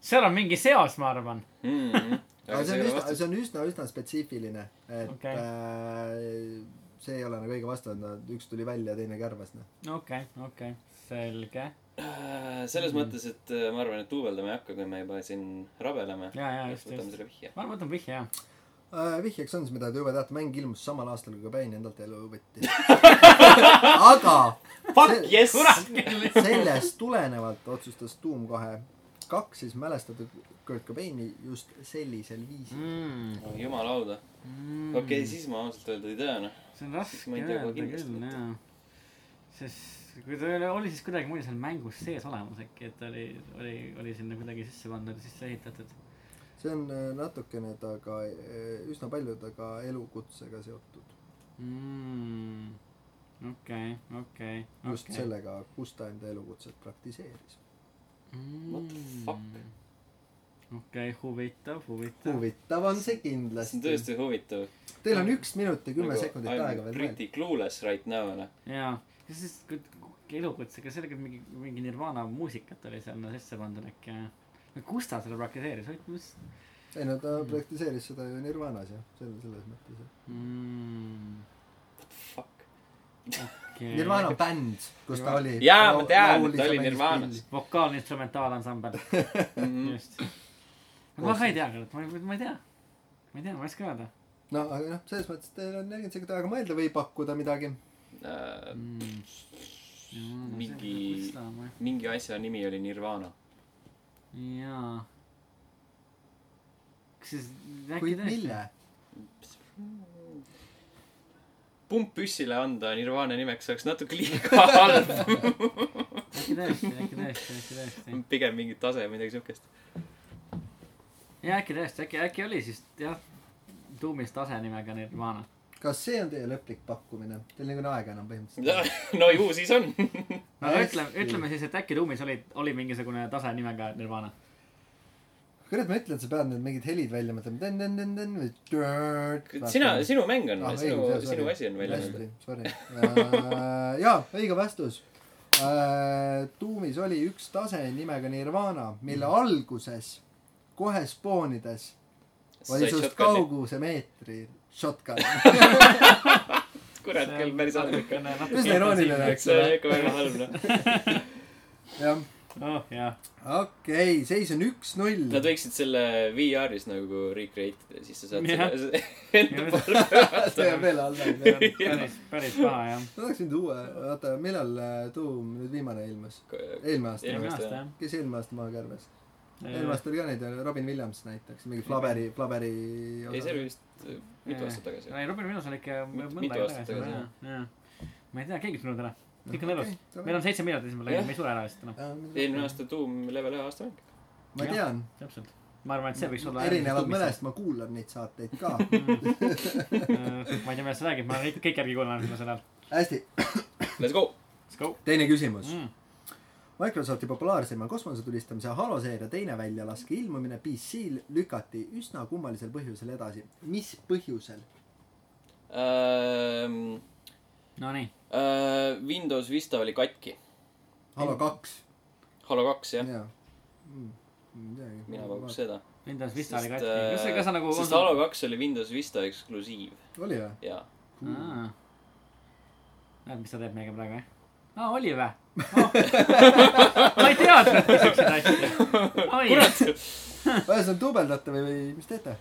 C: seal on mingi seos , ma arvan .
A: Hmm.
B: aga see on üsna , see on üsna , üsna spetsiifiline , et
C: Okei.
B: okay. äh, see ei ole nagu õige vastus , üks tuli välja , teine kärvas , noh .
C: okei , okei , selge .
A: selles
B: Mm.
A: mõttes , et äh, ma arvan , et duubeldama ei hakka , kui me juba siin rabeleme .
C: ja , ja just ,
A: võtame
C: just .
A: selle vihje .
C: ma arvan , et on vihje jah .
B: Äh, vihjeks on siis , mida te juba teate , mäng ilmus samal aastal , kui Cobain endalt elu võttis . aga
A: Fuck yes !
C: kurat küll .
B: sellest tulenevalt otsustas Doom kahe kaks siis mälestada Kurt Cobaini just sellisel viisil .
A: jumala auda . Mm. okei
B: Mm.
A: okay, , siis ma ausalt öelda ei tea , noh .
C: Mm. see on
A: Siis
C: raske
A: ma ei tea,
C: öelda
A: kui kindlasti
C: küll
A: võtta.
C: jaa sest kui ta oli, oli siis kuidagimoodi seal mängus sees olemas äkki et oli oli oli sinna kuidagi sisse pandud sisse ehitatud
B: see on äh, natukene taga , üsna palju taga elukutsega seotud
C: mm. okei okei
B: okay. . just
C: okei.
B: sellega , kus ta enda elukutset praktiseeris .
A: What the fuck?
C: Mm. okei huvitav huvitav
B: huvitav on see
A: see on
B: kindlasti .
A: tõesti huvitav .
B: Teil on üks minut ja kümme sekundit aega veel mõelda .
A: Nagu Pretty clueless right now , noh .
C: jaa ja siis kui kui elukutsega sellega mingi mingi Nirvana muusikat oli sinna sisse pandud äkki jah no kus ta selle praktiseeris oot mis
B: ei no ta praktiseeris seda ju Nirvanas jah , selles , selles mõttes jah .
C: mm.
A: What the fuck ?
C: okei
B: Nirvana on bänd , kus ta oli .
A: Jaa, ma tean, et ta oli Nirvanas.
C: vokaalinstrumentaalansambel just . ma
B: Koostöös.
C: ka ei tea küll , ma ei , ma ei tea . ma ei tea , ma ei oska öelda
B: no aga noh , selles mõttes teil on nelikümmend sekundit aega mõelda või pakkuda midagi .
A: Äh,
C: mm. . nagu
A: mingi , mingi asja nimi oli Nirvana .
C: jaa . kas siis äkki
B: kuid mille ?
A: pump püssile anda Nirvana nimeks oleks natuke liiga halb .
C: äkki tõesti , äkki tõesti , äkki tõesti .
A: pigem mingi tase , midagi siukest .
C: jaa , äkki tõesti , äkki , äkki oli siis jah , tuumist asenimega Nirvana .
B: kas see on teie lõplik pakkumine ? Teil ei ole aega enam põhimõtteliselt .
A: no ju siis on .
C: no aga
B: Hästi.
C: ütleme , ütleme siis , et äkki tuumis oli , oli mingisugune tasenimega Nirvana .
B: kurat , ma ütlen , et sa pead nüüd mingid helid välja mõtlema . tõn-tõn-tõn-tõn või tõ-t-t.
A: sina , sinu mäng on
B: Ah, ,
A: sinu
B: õige, ,
A: sinu
B: sorry.
A: asi on välja mõelda .
B: hästi , sorry . jaa , õige vastus . Äh,
A: Mm.
B: Tuumis oli üks tase nimega Nirvana , mille alguses kohe spoonides oli
A: said
B: sinust
A: shotgun'i .
B: kauguse meetri shotgun .
A: kurat küll , päris halb ikka .
B: Üsna irooniline, eks
A: see on ikka väga halb , noh .
B: jah ,
C: oh jah ,
B: okei okay, , seis on üks-null .
A: Nad võiksid selle VR-is nagu recreate ida , siis sa saad
C: Jah.
A: selle enda palga .
B: see on veel halvem .
C: päris , päris paha jah .
B: ma tahaks nüüd uue , oota , millal äh, Doom nüüd viimane ilmus ? eelmine
A: Eelmine Äh. aasta,
C: eelmine
B: aasta .
C: aasta
B: kes eelmine aasta maha kärbes ? eelmine
C: jah .
B: aasta oli ka neid , Robin Williams näiteks , mingi Flaberi , Flaberi .
A: ei , see oli vist äh, mitu
C: Jah.
A: aastat tagasi .
C: ei , Robin Williams on ikka
A: Mit-
C: mõnda
A: mitu
C: aega
A: aastat
C: tagasi
B: tagasi,
C: jah , jah . ma ei tea , keegi ei tulnud ära . kõik on elus .. meil on seitse miljardit , siis me
A: Jah.
C: leiame , me ei sure ära vist enam .
A: eelmine . aasta Doom level ühe aastamäng .
B: ma tean ,
C: täpselt . ma arvan , et see võiks olla .
B: erinevad mõnest , ma kuulan neid saateid ka .
A: Mm.
C: ma ei tea , millest sa räägid , ma olen kõik , kõik järgi kuulan viimasel ajal .
B: hästi ,
A: Let's go !
C: Let's go
B: teine küsimus .
C: mm. .
B: Microsofti populaarseima kosmosetulistamise Halo seeria teine väljalaske ilmumine PC-l lükati üsna kummalisel põhjusel edasi . mis põhjusel ?
C: Nonii ,
A: Ehm, eh, Windows Vista oli katki .
B: Halo kaks .
A: Halo kaks , jah .
B: jaa . Mm, mina
A: mina pakuks . seda .
C: Windows Vista oli
A: sest ,
C: ka . kas see , kas sa nagu .
A: sest Halo kaks oli Windows Vista eksklusiiv
B: oli või ?
A: ja
C: Aa. näed , mis ta teeb meiega praegu , jah ? aa , oli vä oh. ? ma ei teadnud , et siukseid asju . kurat .
B: ühesõnaga duubeldate või , või mis teete ?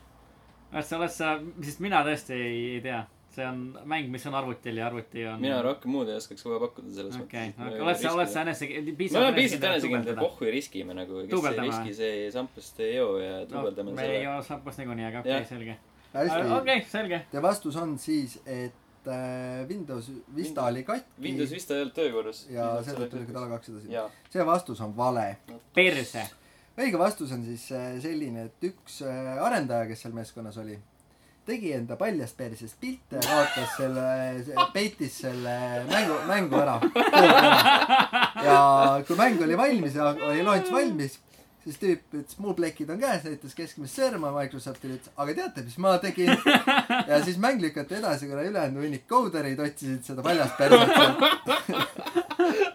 C: oled sa , oled sa , sest mina tõesti ei, ei tea . see on mäng , mis on arvutil ja arvuti on .
A: mina . rohkem muud ei oskaks kohe pakkuda selles
C: Mm. okei ,
A: mõttes .
C: oled sa , oled sa enese .
A: me oleme piisavalt enesekindlad , pohhu ei riski me nagu , kes ei
C: Duubeldame
A: riski , see ei sampast ei joo ja duubeldame
C: no, . me ei
A: selle .
C: ole sampast niikuinii , aga okei
A: Jah.
C: okay, , selge .
B: hästi .
C: Äh, okei , selge .
B: ja vastus on siis , et äh, Windows Vista
A: Win-
B: oli katki
A: Windows Vista ei olnud töökorras .
B: ja seetõttu lükati Halo kaks edasi .
A: jaa ,
B: see vastus on vale .
C: perse .
B: õige vastus on siis äh, selline , et üks äh, arendaja , kes seal meeskonnas oli , tegi enda paljast persest pilte ja kaotas selle , peitis selle mängu , mängu ära . ja kui mäng oli valmis ja oli launch valmis , siis tüüp ütles , mul plekid on käes , näitas keskmist sõrma Microsoftile , ütles , aga teate , mis ma tegin ? ja siis mäng lükati edasi , kuna ülejäänud hunnik coderid otsisid seda paljast perset .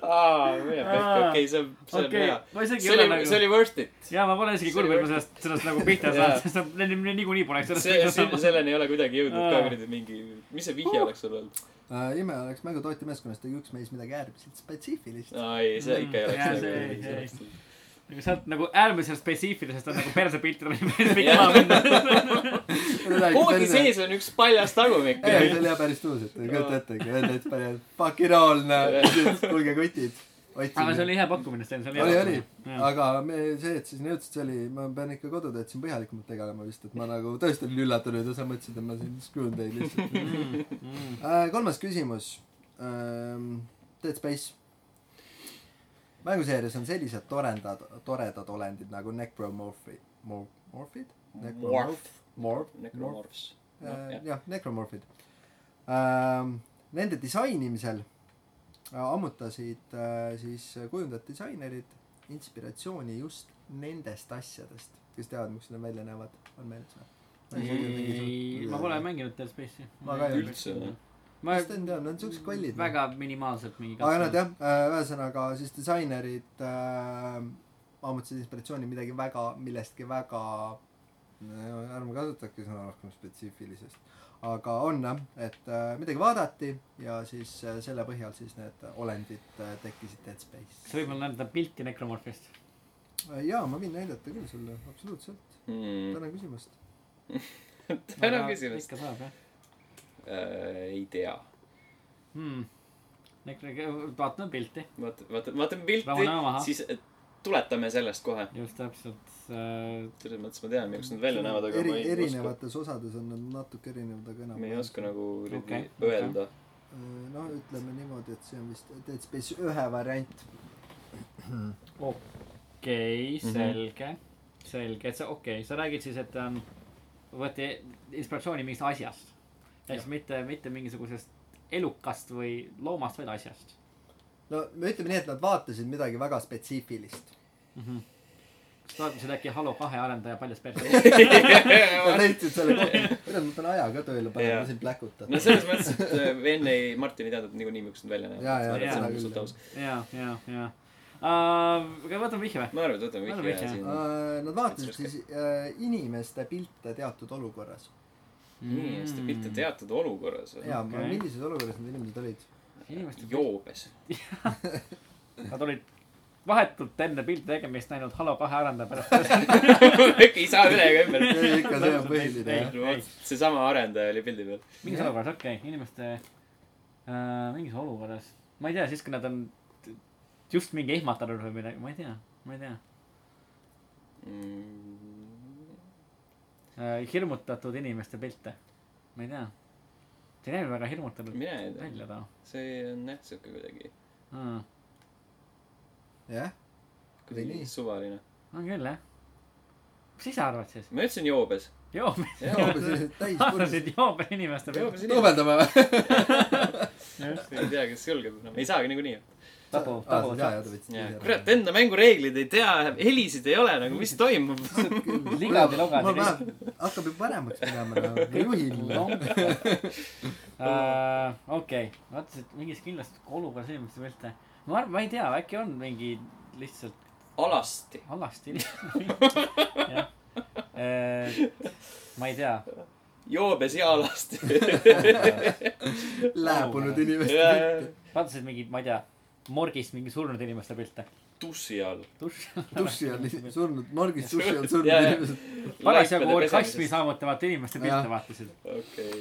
A: aa , mine pekki ,
C: Aa,
A: okei , see on , see on
C: okei
A: hea .,
C: ma isegi
A: see
C: ei ole
A: oli ,
C: nagu
A: see . oli worth it .
C: jaa , ma pole isegi
A: See
C: kurb ,
A: oli
C: et ma sellest , sellest nagu pihta
A: Jaa.
C: saan , sest nad nii- nii- niikuinii poleks sellest
A: see ,
C: pihta
A: see ,
C: saanud .
A: selleni ei ole kuidagi jõudnud ka
C: nagu- Aa.
A: kuradi mingi , mis see vihje oleks sul olnud ?
B: Äh, ime oleks mängu tootja meeskonnas tegi üks mees midagi äärmiselt spetsiifilist .
A: aa ei , see ikka ei
C: Mm, jaa, see ei- ei-
A: oleks .
C: nagu sealt nagu äärmiselt spetsiifilisest on nagu persepiltidel oli päris pikk maa minna .
A: koodi sees on üks paljas tagumik .
B: ei , see oli jah päris tuus , et ei kujuta ettegi , öelda , et panen fucking all , näe , kuulge kutid .
C: aga see
B: otsime .
C: oli hea pakkumine , Sten , see oli
B: oli ,
C: hea
B: oli ,
C: pakkumine .
B: aga me , see , et siis nõudsid , see oli , ma pean ikka kodutööd siin põhjalikumalt tegelema vist , et ma nagu tõesti olin üllatunud ja sa mõtlesid , et ma siin screw n teid lihtsalt . äh, . kolmas küsimus ähm, . Dead Space . mänguseerias on sellised torendad , toredad olendid nagu necromorphi , mor- , morphid ?
A: Morph. .
B: Morph .
A: Necromorphs . Noh,
B: Äh,
A: jah.
B: jah , necromorphid ähm, . Nende disainimisel äh, ammutasid äh, siis kujundajad disainerid inspiratsiooni just nendest asjadest , kes teavad , miks nad välja näevad , on meeles või ?
C: ma pole . mänginud Dead Space'i .
B: Ma ka ei ole.
A: Üldse või?
C: ma
B: mis ta on teadnud , nad on siuksed kallid .
C: väga minimaalselt mingi .
B: aga nad . jah , ühesõnaga siis disainerid äh, ammutasid inspiratsiooni midagi väga , millestki väga , ärme kasutake sõna rohkem spetsiifilisest , aga on jah , et äh, midagi vaadati ja siis äh, selle põhjal siis need olendid äh, tekkisid Dead Space .
C: sa võib-olla näed pilti Necromorphist .
B: jaa , ma võin näidata küll sulle , absoluutselt .
A: Mm.
B: tänan küsimast .
A: Hmm. tänan küsimast .
C: ikka saab jah
A: ei tea .
C: hmm. . Necro- , vaatame pilti .
A: vaata , vaata , vaatame pilti
C: Rahune maha. ,
A: siis äh, tuletame sellest kohe .
C: just täpselt äh, .
A: selles mõttes ma tean , miks nad välja näevad , aga ma ei oska ,
B: erinevates osades on nad natuke erinevad , aga enam
A: ma ei oska nagu
C: Okei,
A: okay,
C: okei.
A: öelda okay. .
B: noh , ütleme niimoodi , et see on vist Dead Space ühe variant .
C: okei ,
A: Mhm.
C: selge , selge , et sa , okei okay, , sa räägid siis , et um, võeti inspiratsiooni mingist asjast . ehk siis mitte , mitte mingisugusest elukast või loomast , vaid asjast
B: no me ütleme nii , et nad vaatasid midagi väga spetsiifilist .
C: mm . -hmm. sa vaatasid äkki Halo kahe arendaja paljas perse ?
B: Nad leidsid selle koha , kuidas ma pean aja ka tööle panema ,
A: Jaa.
B: ma siin pläkutan
A: no . selles mõttes , et äh, enne ei , Martin ei teadnud niikuinii , miks nad välja
B: Jaa, jaa,
A: näevad . see
C: jaa,
A: on
B: küll,
A: lihtsalt
B: jah.
A: aus .
C: ja , ja , ja . aga võtame vihje või ?
A: ma arvan , et võtame
C: Võtame
A: vihje
C: vihje,
A: ja siin .
B: Nad vaatasid
A: Otsustke.
B: siis äh, inimeste pilte teatud olukorras .
A: inimeste pilte . teatud olukorras või ?
B: jaa ,
C: Okei.
B: millises olukorras need inimesed olid ?
C: inimeste pilte .
A: joobes .
C: Nad olid vahetult enne pildi tegemist näinud Halo kahe arendaja pärast .
A: ei saa üle ega ümber .
B: ikka see on põhiline jah .
A: seesama arendaja oli pildi peal .
C: mingis olukorras , okei okay. , inimeste äh, mingis olukorras , ma ei tea , siis kui nad on t- just mingi ehmatanud või midagi , ma ei tea , ma ei tea
A: Mm,
C: äh, . hirmutatud inimeste pilte , ma ei tea . see näeb väga hirmutatud
A: mine ei tea ,
C: välja too
A: see on jah siuke kuidagi ,
C: mm. .
B: jah , Või
A: kuidagi
B: nii?
A: suvaline .
C: on küll jah . mis sa ise arvad siis ?
A: ma ütlesin joobes .
C: joobes ,
B: täis purjus .
C: arvasid joobes inimeste peale .
A: joobes inimene .
B: duubeldame või ?
A: ei tea , kes julgeb enam , ei saagi niikuinii .
C: tabu ,
A: Ah,
B: Ah,
C: tabu , tabu .
A: kurat , enda mängureeglid ei tea , helisid ei ole nagu , mis toimub ?
C: Ligadi-logadi
B: mul
C: nii.
B: vähe , hakkab juba paremaks minema nagu juhil .
C: Äh, okei , vaatasid mingis kindlasti olukorras inimeste pilte . ma arvan , ma ei tea , äkki on mingi lihtsalt
A: alasti .
C: alasti jah . Äh, ma ei tea .
A: joobes ja alasti .
B: lääbunud inimeste pilte .
C: vaatasid mingeid , ma ei tea , morgist mingi surnud inimeste pilte .
A: tussi all .
B: duši all surnud , margis duši all surnud
A: Jaa, jaa.
B: inimesed .
C: parasjagu orgasmi . saavutavate inimeste pilte
B: Jah.
C: vaatasid .
A: okei ,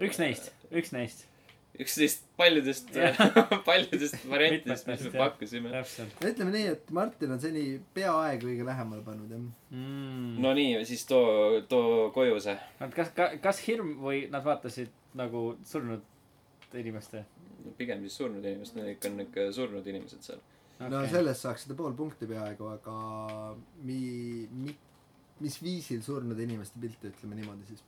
C: üks neist , üks neist ,
A: üks neist paljudest
C: Jah. ,
A: paljudest variantidest , mis me
C: Mitmetest, jah.
A: pakkusime .
C: täpselt
B: ütleme nii , et Martin on seni peaaegu kõige lähemale pannud jah .
C: mm. .
A: no nii , siis too , too koju see .
C: Nad kas , kas hirm või nad vaatasid nagu surnud inimeste
A: pigem siis surnud inimesed , need ikka on ikka surnud inimesed seal .
B: no
C: Okei.
B: sellest saaksite pool punkti peaaegu , aga mi- , mi- , mis viisil surnud inimeste pilte , ütleme niimoodi siis .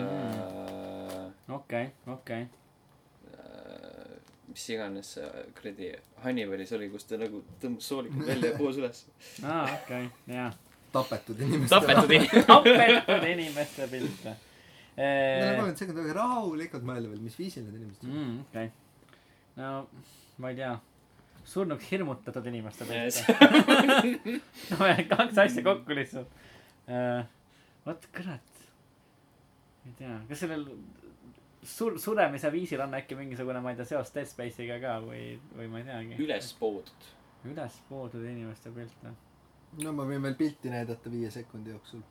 A: Äh,
C: okei , okei .
A: äh, mis iganes see kuradi Hannibalis oli , kus ta nagu tõmbas soolikud välja ja poos üles .
C: aa , okei , jaa .
B: tapetud inimeste .
A: tapetud inimene .
C: tapetud inimeste pilte .
B: Neil on kolmkümmend sekundit väga rahulikult mõelda veel , mis viisil need inimesed surnud .
C: mm, okei . no ma ei tea . surnuks hirmutatud inimeste
A: Yes.
C: pilte . no ja kaks asja kokku lihtsalt . vot kurat . ei tea , kas sellel sur- , suremise viisil on äkki mingisugune , ma ei tea , seos Dead Space'iga ka või , või ma ei teagi .
A: üles poodud .
C: ülespoodud inimeste noh. pilte . Mm.
B: no ma võin veel pilti näidata viie sekundi jooksul .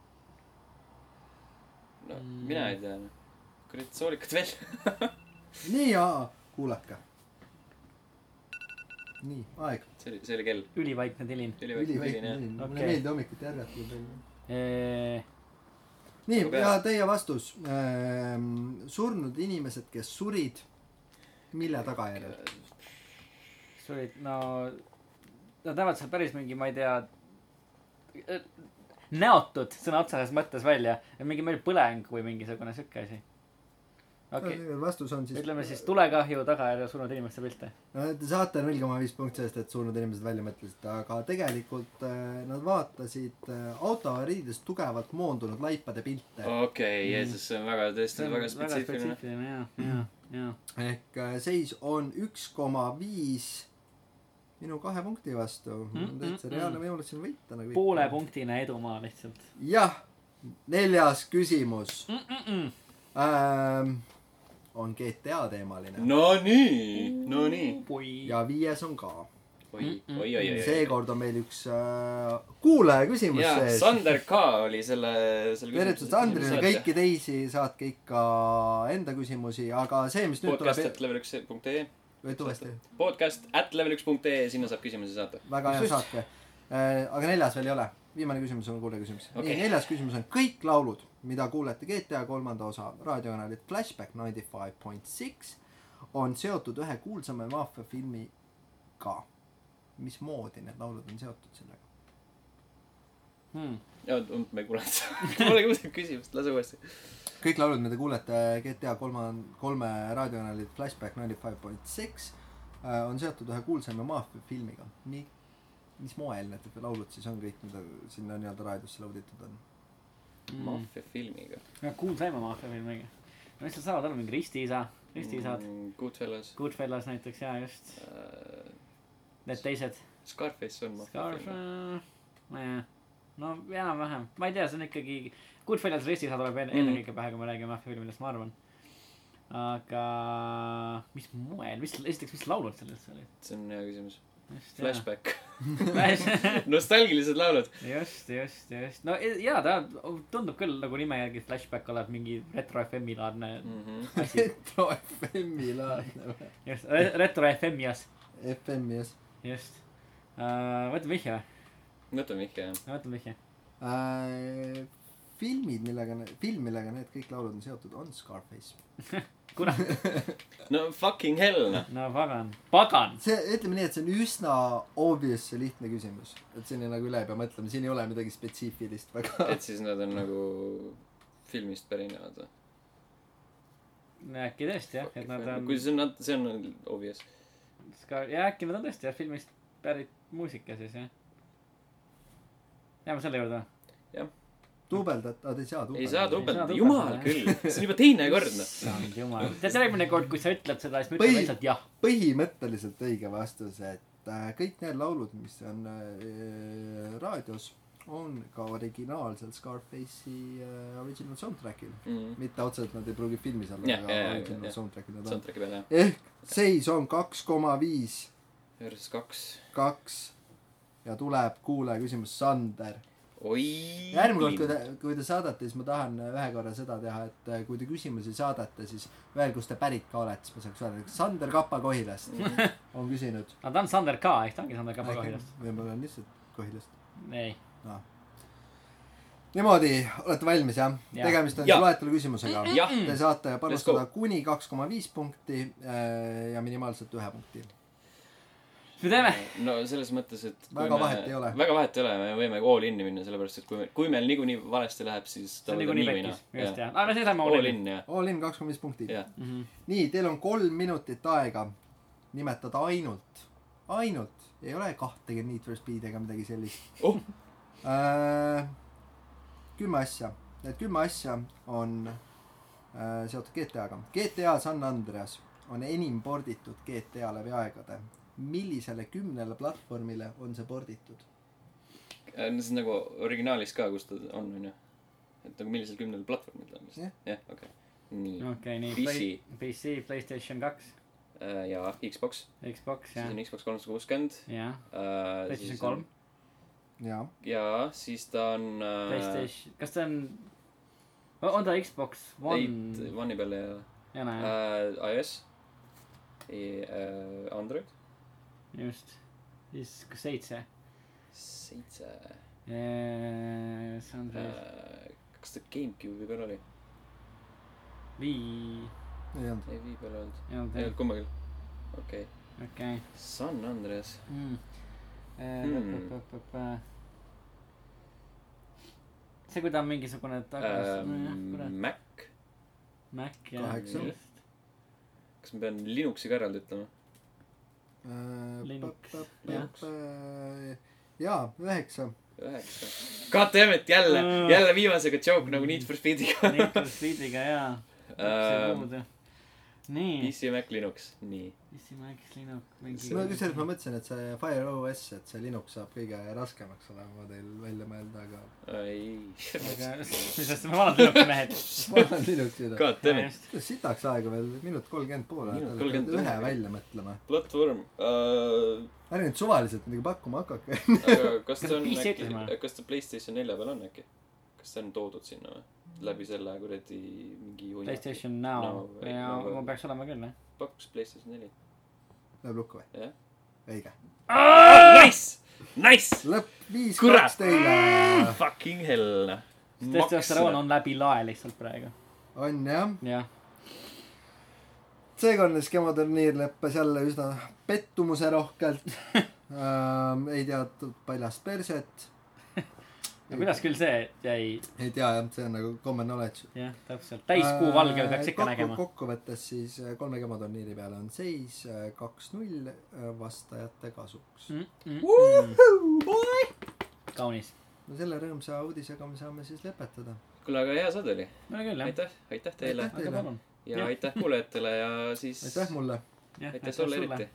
A: no mina ei tea , noh . kuradi soolikud välja .
B: nii , jaa , kuulake . nii , aeg .
A: see oli , see oli kell .
C: ülivaikne tilin .
B: üliväikne
A: üliväikene .
B: olin , mulle
C: Okei.
B: ei meeldi hommikuti ärgata nii palju . nii ,
A: Aga
B: ja
A: peale.
B: teie vastus . surnud inimesed , kes surid , mille tagajärjel ?
C: mis olid , no nad näevad seal päris mingi , ma ei tea , näotud sõna otseses mõttes välja , mingi meil põleng või mingisugune siuke asi . okei okay. ,
B: vastus on siis .
C: ütleme siis tulekahju tagajärjel surnud inimeste pilte .
B: no te saate null koma viis punkti sellest , et surnud inimesed välja mõtlesid , aga tegelikult äh, nad vaatasid äh, autoavariides tugevalt moondunud laipade pilte .
A: okei , Jeesus , see on väga , tõesti väga spetsiifiline .
C: spetsiifiline ja , ja , ja .
B: ehk äh, seis on üks koma viis minu kahe punkti vastu mm . -mm
C: Mm,
B: -mm. täitsa
C: mm,
B: reaalne
C: mm.
B: võimalus siin võita nagu .
C: poolepunktine edumaa lihtsalt
B: jah , neljas küsimus
C: mm . -mm.
B: ähm, on GTA teemaline no.
A: Nonii , nonii .
C: oi ,
B: ja viies on ka .
A: oi , oi , oi , oi , oi .
B: seekord on meil üks äh, kuulaja küsimus
A: jaa ,
B: sees .
A: Sander K oli selle , selle
B: tervitused Andrile , kõiki teisi saatke ikka enda küsimusi , aga see , mis nüüd
A: podcast
B: tuleb
A: at , level üks punkt ee
B: võib uuesti ,
A: podcast at level üks punkt ee , sinna saab küsimusi saata .
B: väga hea
C: Just.
B: saatke . aga neljas veel ei ole , viimane küsimus on kuulaja küsimus okay. .
A: Okei.
B: nii , neljas küsimus on kõik laulud , mida kuulete GTA kolmanda osa raadiokanalit Flashback ninety five point six on seotud ühe kuulsama maffiafilmiga . mismoodi need laulud on seotud sellega ?
C: hmm.
A: ja , ma ei kuulanud . mul ei kuulnud küsimust , lase uuesti .
B: kõik laulud , mida kuulete GTA kolma , kolme raadiokanalit Flashback ninety five point six äh, on seotud ühe kuulsaima maffiafilmiga . nii , mis moel need laulud siis on kõik , mida sinna nii-öelda raadiosse load itud on ?
C: mm. .
A: maffia filmiga .
C: kuulsaima maffiafilmiga . no mis seal saavad olema , mingi ristiisa , ristiisad mm. ,.
A: Goodfellas .
C: Goodfellas näiteks ja just need teised .
A: Äh, Scarface on maffia film .
C: nojah , no enam-vähem , ma ei tea , see on ikkagi , Goodfellas ristisa tuleb enne
A: Mm.
C: mm. ennekõike pähe , kui me räägime maffia filmidest , ma arvan . aga mis moel , mis , esiteks , mis laulud seal üldse olid ?
A: see on hea küsimus . Flashback .
C: Flash .
A: nostalgilised laulud .
C: just , just , just , no ja ta tundub küll nagu nime järgi Flashback olevat mingi retro FM-i laadne
A: mm . -hmm.
C: asi .
B: retro FM-i laadne või ?
C: just , retro FM-i as ,
B: FM-i jah
C: just uh, . võtame vihje või ?
A: võtame ikka jah .
C: võtame vihje .
B: äh, . filmid , millega , film , millega need kõik laulud on seotud , on Scarface .
C: kurat ,
A: no fucking hell noh .
C: no pagan , pagan .
B: see , ütleme nii , et see on üsna obvious ja lihtne küsimus . et siin ei nagu üle ei pea mõtlema , siin ei ole midagi spetsiifilist väga .
A: et siis nad on nagu filmist pärinevad või ?
C: äkki tõesti jah , et nad on
A: kui , see on nat- , see on obvious .
C: ja äkki nad on tõesti jah , filmist pärit muusika siis jah . jääme selle juurde või ?
B: duubeldad , aa ah, te ei saa
A: ei saa
B: duubeldada .
A: tubelda ,
C: tubelda,
A: jumal
C: jah.
A: küll . see on juba teine kord noh .
C: issand jumal , tead järgmine kord , kui sa ütled seda , siis ma
B: Põhi-
C: ütlen lihtsalt jah .
B: põhimõtteliselt õige vastus , et äh, kõik need laulud , mis on äh, raadios , on ka originaalsel Scarface'i äh, original soundtrack'il .
C: Mm.
B: mitte otseselt nad ei pruugi filmis olla ,
A: Jah, jah,
B: aga
A: jah,
B: original
A: jah.
B: soundtrack'il nad on .
A: Mm. soundtrack'i peale jah .
B: ehk seis on kaks koma viis ,
A: Versus kaks .
B: kaks ja tuleb kuulaja küsimus Sander .
A: oi .
B: järgmine kord , kui te , kui te saadate , siis ma tahan ühe korra seda teha , et äh, kui te küsimusi saadate , siis öelge , kust te pärit ka olete , siis ma saaks öelda , kas Sander Kapa-Kohilast on küsinud .
C: aga ta on Sander ka , eks ta ongi Sander Kapa kahjuks .
B: võib-olla on lihtsalt Kohilast .
C: ei ,
B: niimoodi , olete valmis jah ja. ?
C: Jah.
B: tegemist on
A: Jah.
B: siis loetelu küsimusega .
A: Jah.
B: Te saate panustada
A: Mm-hmm. Let's
B: kuni kaks koma viis punkti äh, ja minimaalselt ühe punkti .
C: mis me teeme ?
A: no selles mõttes , et kui
B: Väga
A: me-
B: vahet ei ole.
A: väga vahet ei ole , me võime all in'i minna , sellepärast et kui me , kui meil niikuinii valesti läheb , siis
C: see on niikuinii pekkis ,
A: noh.
C: just jah , aga see saame
A: all
C: olema .
A: in jah ,
B: All in kaks koma viis punkti .
A: jah .
C: Mhm.
B: nii , teil on kolm minutit aega nimetada ainult , ainult , ei ole kahtekümmet Need for Speed ega midagi sellist
A: Oh.
B: äh, . kümme asja , need kümme asja on äh, seotud GTA-ga . GTA San Andreas on enim porditud GTA läbi aegade . millisele kümnele platvormile on see porditud ?
A: see on nagu originaalis ka , kus ta on , onju . et nagu millisel kümnel platvormil ta on vist
B: Jah. .
A: jah , okei . nii .
C: okei , nii .
A: PC. .
C: PC , Playstation kaks ,
A: Äh, ja Xbox ,
C: Xbox
A: siis
C: ja ,
A: on Xbox kolmsada kuuskümmend . Äh,
C: ja PlayStation
A: PlayStation
C: kolm ,.
B: jaa .
A: ja siis ta on . äh,
C: PlayStation , kas ta on , on ta Xbox
A: One .
C: One ?
A: One'i peal ja
C: ja näe ,
A: uh, iOS . Uh, Android . Äh.
C: just , siis kas seitse ?
A: seitse
C: see on see
A: uh, . kas ta GameCube'i peal oli ?
C: Wii ,
B: ei olnud .
A: ei , Wii peal ei olnud .
C: ei
A: ei
C: olnud veel ,
A: olnud kummagil . okei okay. ,
C: okei .
A: San Andreas .
C: Mm. Äh,
A: Hmm.
C: see , kui ta on mingisugune
A: Uh,
C: tagasi , kurat ,
A: Mac
C: Mac ja .
B: kaheksa.
A: kas ma pean Linuxi ka eraldi ütlema ?
B: Äh,
C: Linux,
B: jaa , üheksa .
A: üheksa . God damn it , jälle
C: Mm. ,
A: jälle viimasega joke nagu Need for Speediga .
C: Need for Speediga jaa , täpselt
A: Ähm,
C: muude . nii ,
A: PC Mac Linux , nii .
C: mis siin rääkis Linux mingi .
B: ma kusjuures ma mõtlesin , et see Fire OS , et see Linux saab kõige raskemaks olema teil välja mõelda , aga
A: ei .
C: aga mis asja , me vanad Linuxi mehed .
B: ma olen Linuxi üle .
A: God damn it .
B: kuidas sitaks aega veel , minut kolmkümmend pool
A: Minut
B: ajada ,
A: 30
B: pead ühe
A: pool.
B: välja mõtlema .
A: platvorm uh, .
B: ärge nüüd suvaliselt midagi pakkuma hakake .
A: aga kas ta on
C: Mis see
A: äkki
C: ütlema? ,
A: kas ta Playstation nelja peal on äkki ? kas see on toodud sinna või ? läbi selle kuradi mingi hunni .
C: Playstation Now
A: No,
C: ja
A: no,
C: ma peaks olema küll jah .
A: pakkus Playstation neli .
B: Läheb lukku või ?
A: jah .
B: õige .
A: Nice , nice ,
B: lõpp viis ,
A: Kurat!
B: kaks teile .
A: fucking hell .
C: testosteroon on läbi lae lihtsalt praegu .
B: on jah .
C: jah ,
B: seekordne skematurniir lõppes jälle üsna pettumuse rohkelt ähm, . ei teatud paljast perset .
C: no kuidas küll see jäi ,
B: ei tea jah , see on nagu common knowledge .
C: jah , täpselt , täiskuu valgel peaks ikka
B: Äh, kokku,
C: nägema .
B: kokkuvõttes siis äh, kolme gematurniiri peale on seis äh, kaks-null äh, vastajate kasuks mm. .
C: Hmm. kaunis .
B: no selle rõõmsa uudisega me saame siis lõpetada .
A: kuule , aga hea saade oli .
C: no küll jah ,
A: aitäh , aitäh teile
B: Aitäh.
C: aga palun .
A: ja
C: Jah.
A: aitäh kuulajatele ja siis
B: aitäh mulle .
A: aitäh sulle eriti .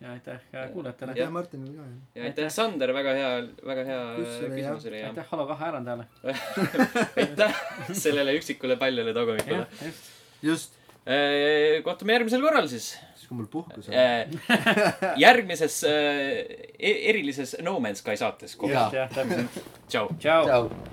C: ja aitäh äh, kuulajatele .
B: aitäh Martinile ka .
A: ja aitäh , Sander , väga hea , väga hea
B: Kus oli,
A: küsimus oli ja
C: aitäh Halo kahe arendajale .
A: aitäh sellele üksikule paljale tagumikule .
C: jah , just .
B: just ,
A: Äh, kohtume järgmisel korral siis .
B: siis kui mul puhkus on .
A: järgmises äh, e- erilises No Man's Sky saates kohe .
B: Jaa.
C: jah , täpselt .
A: tšau .
C: tšau .
B: tšau .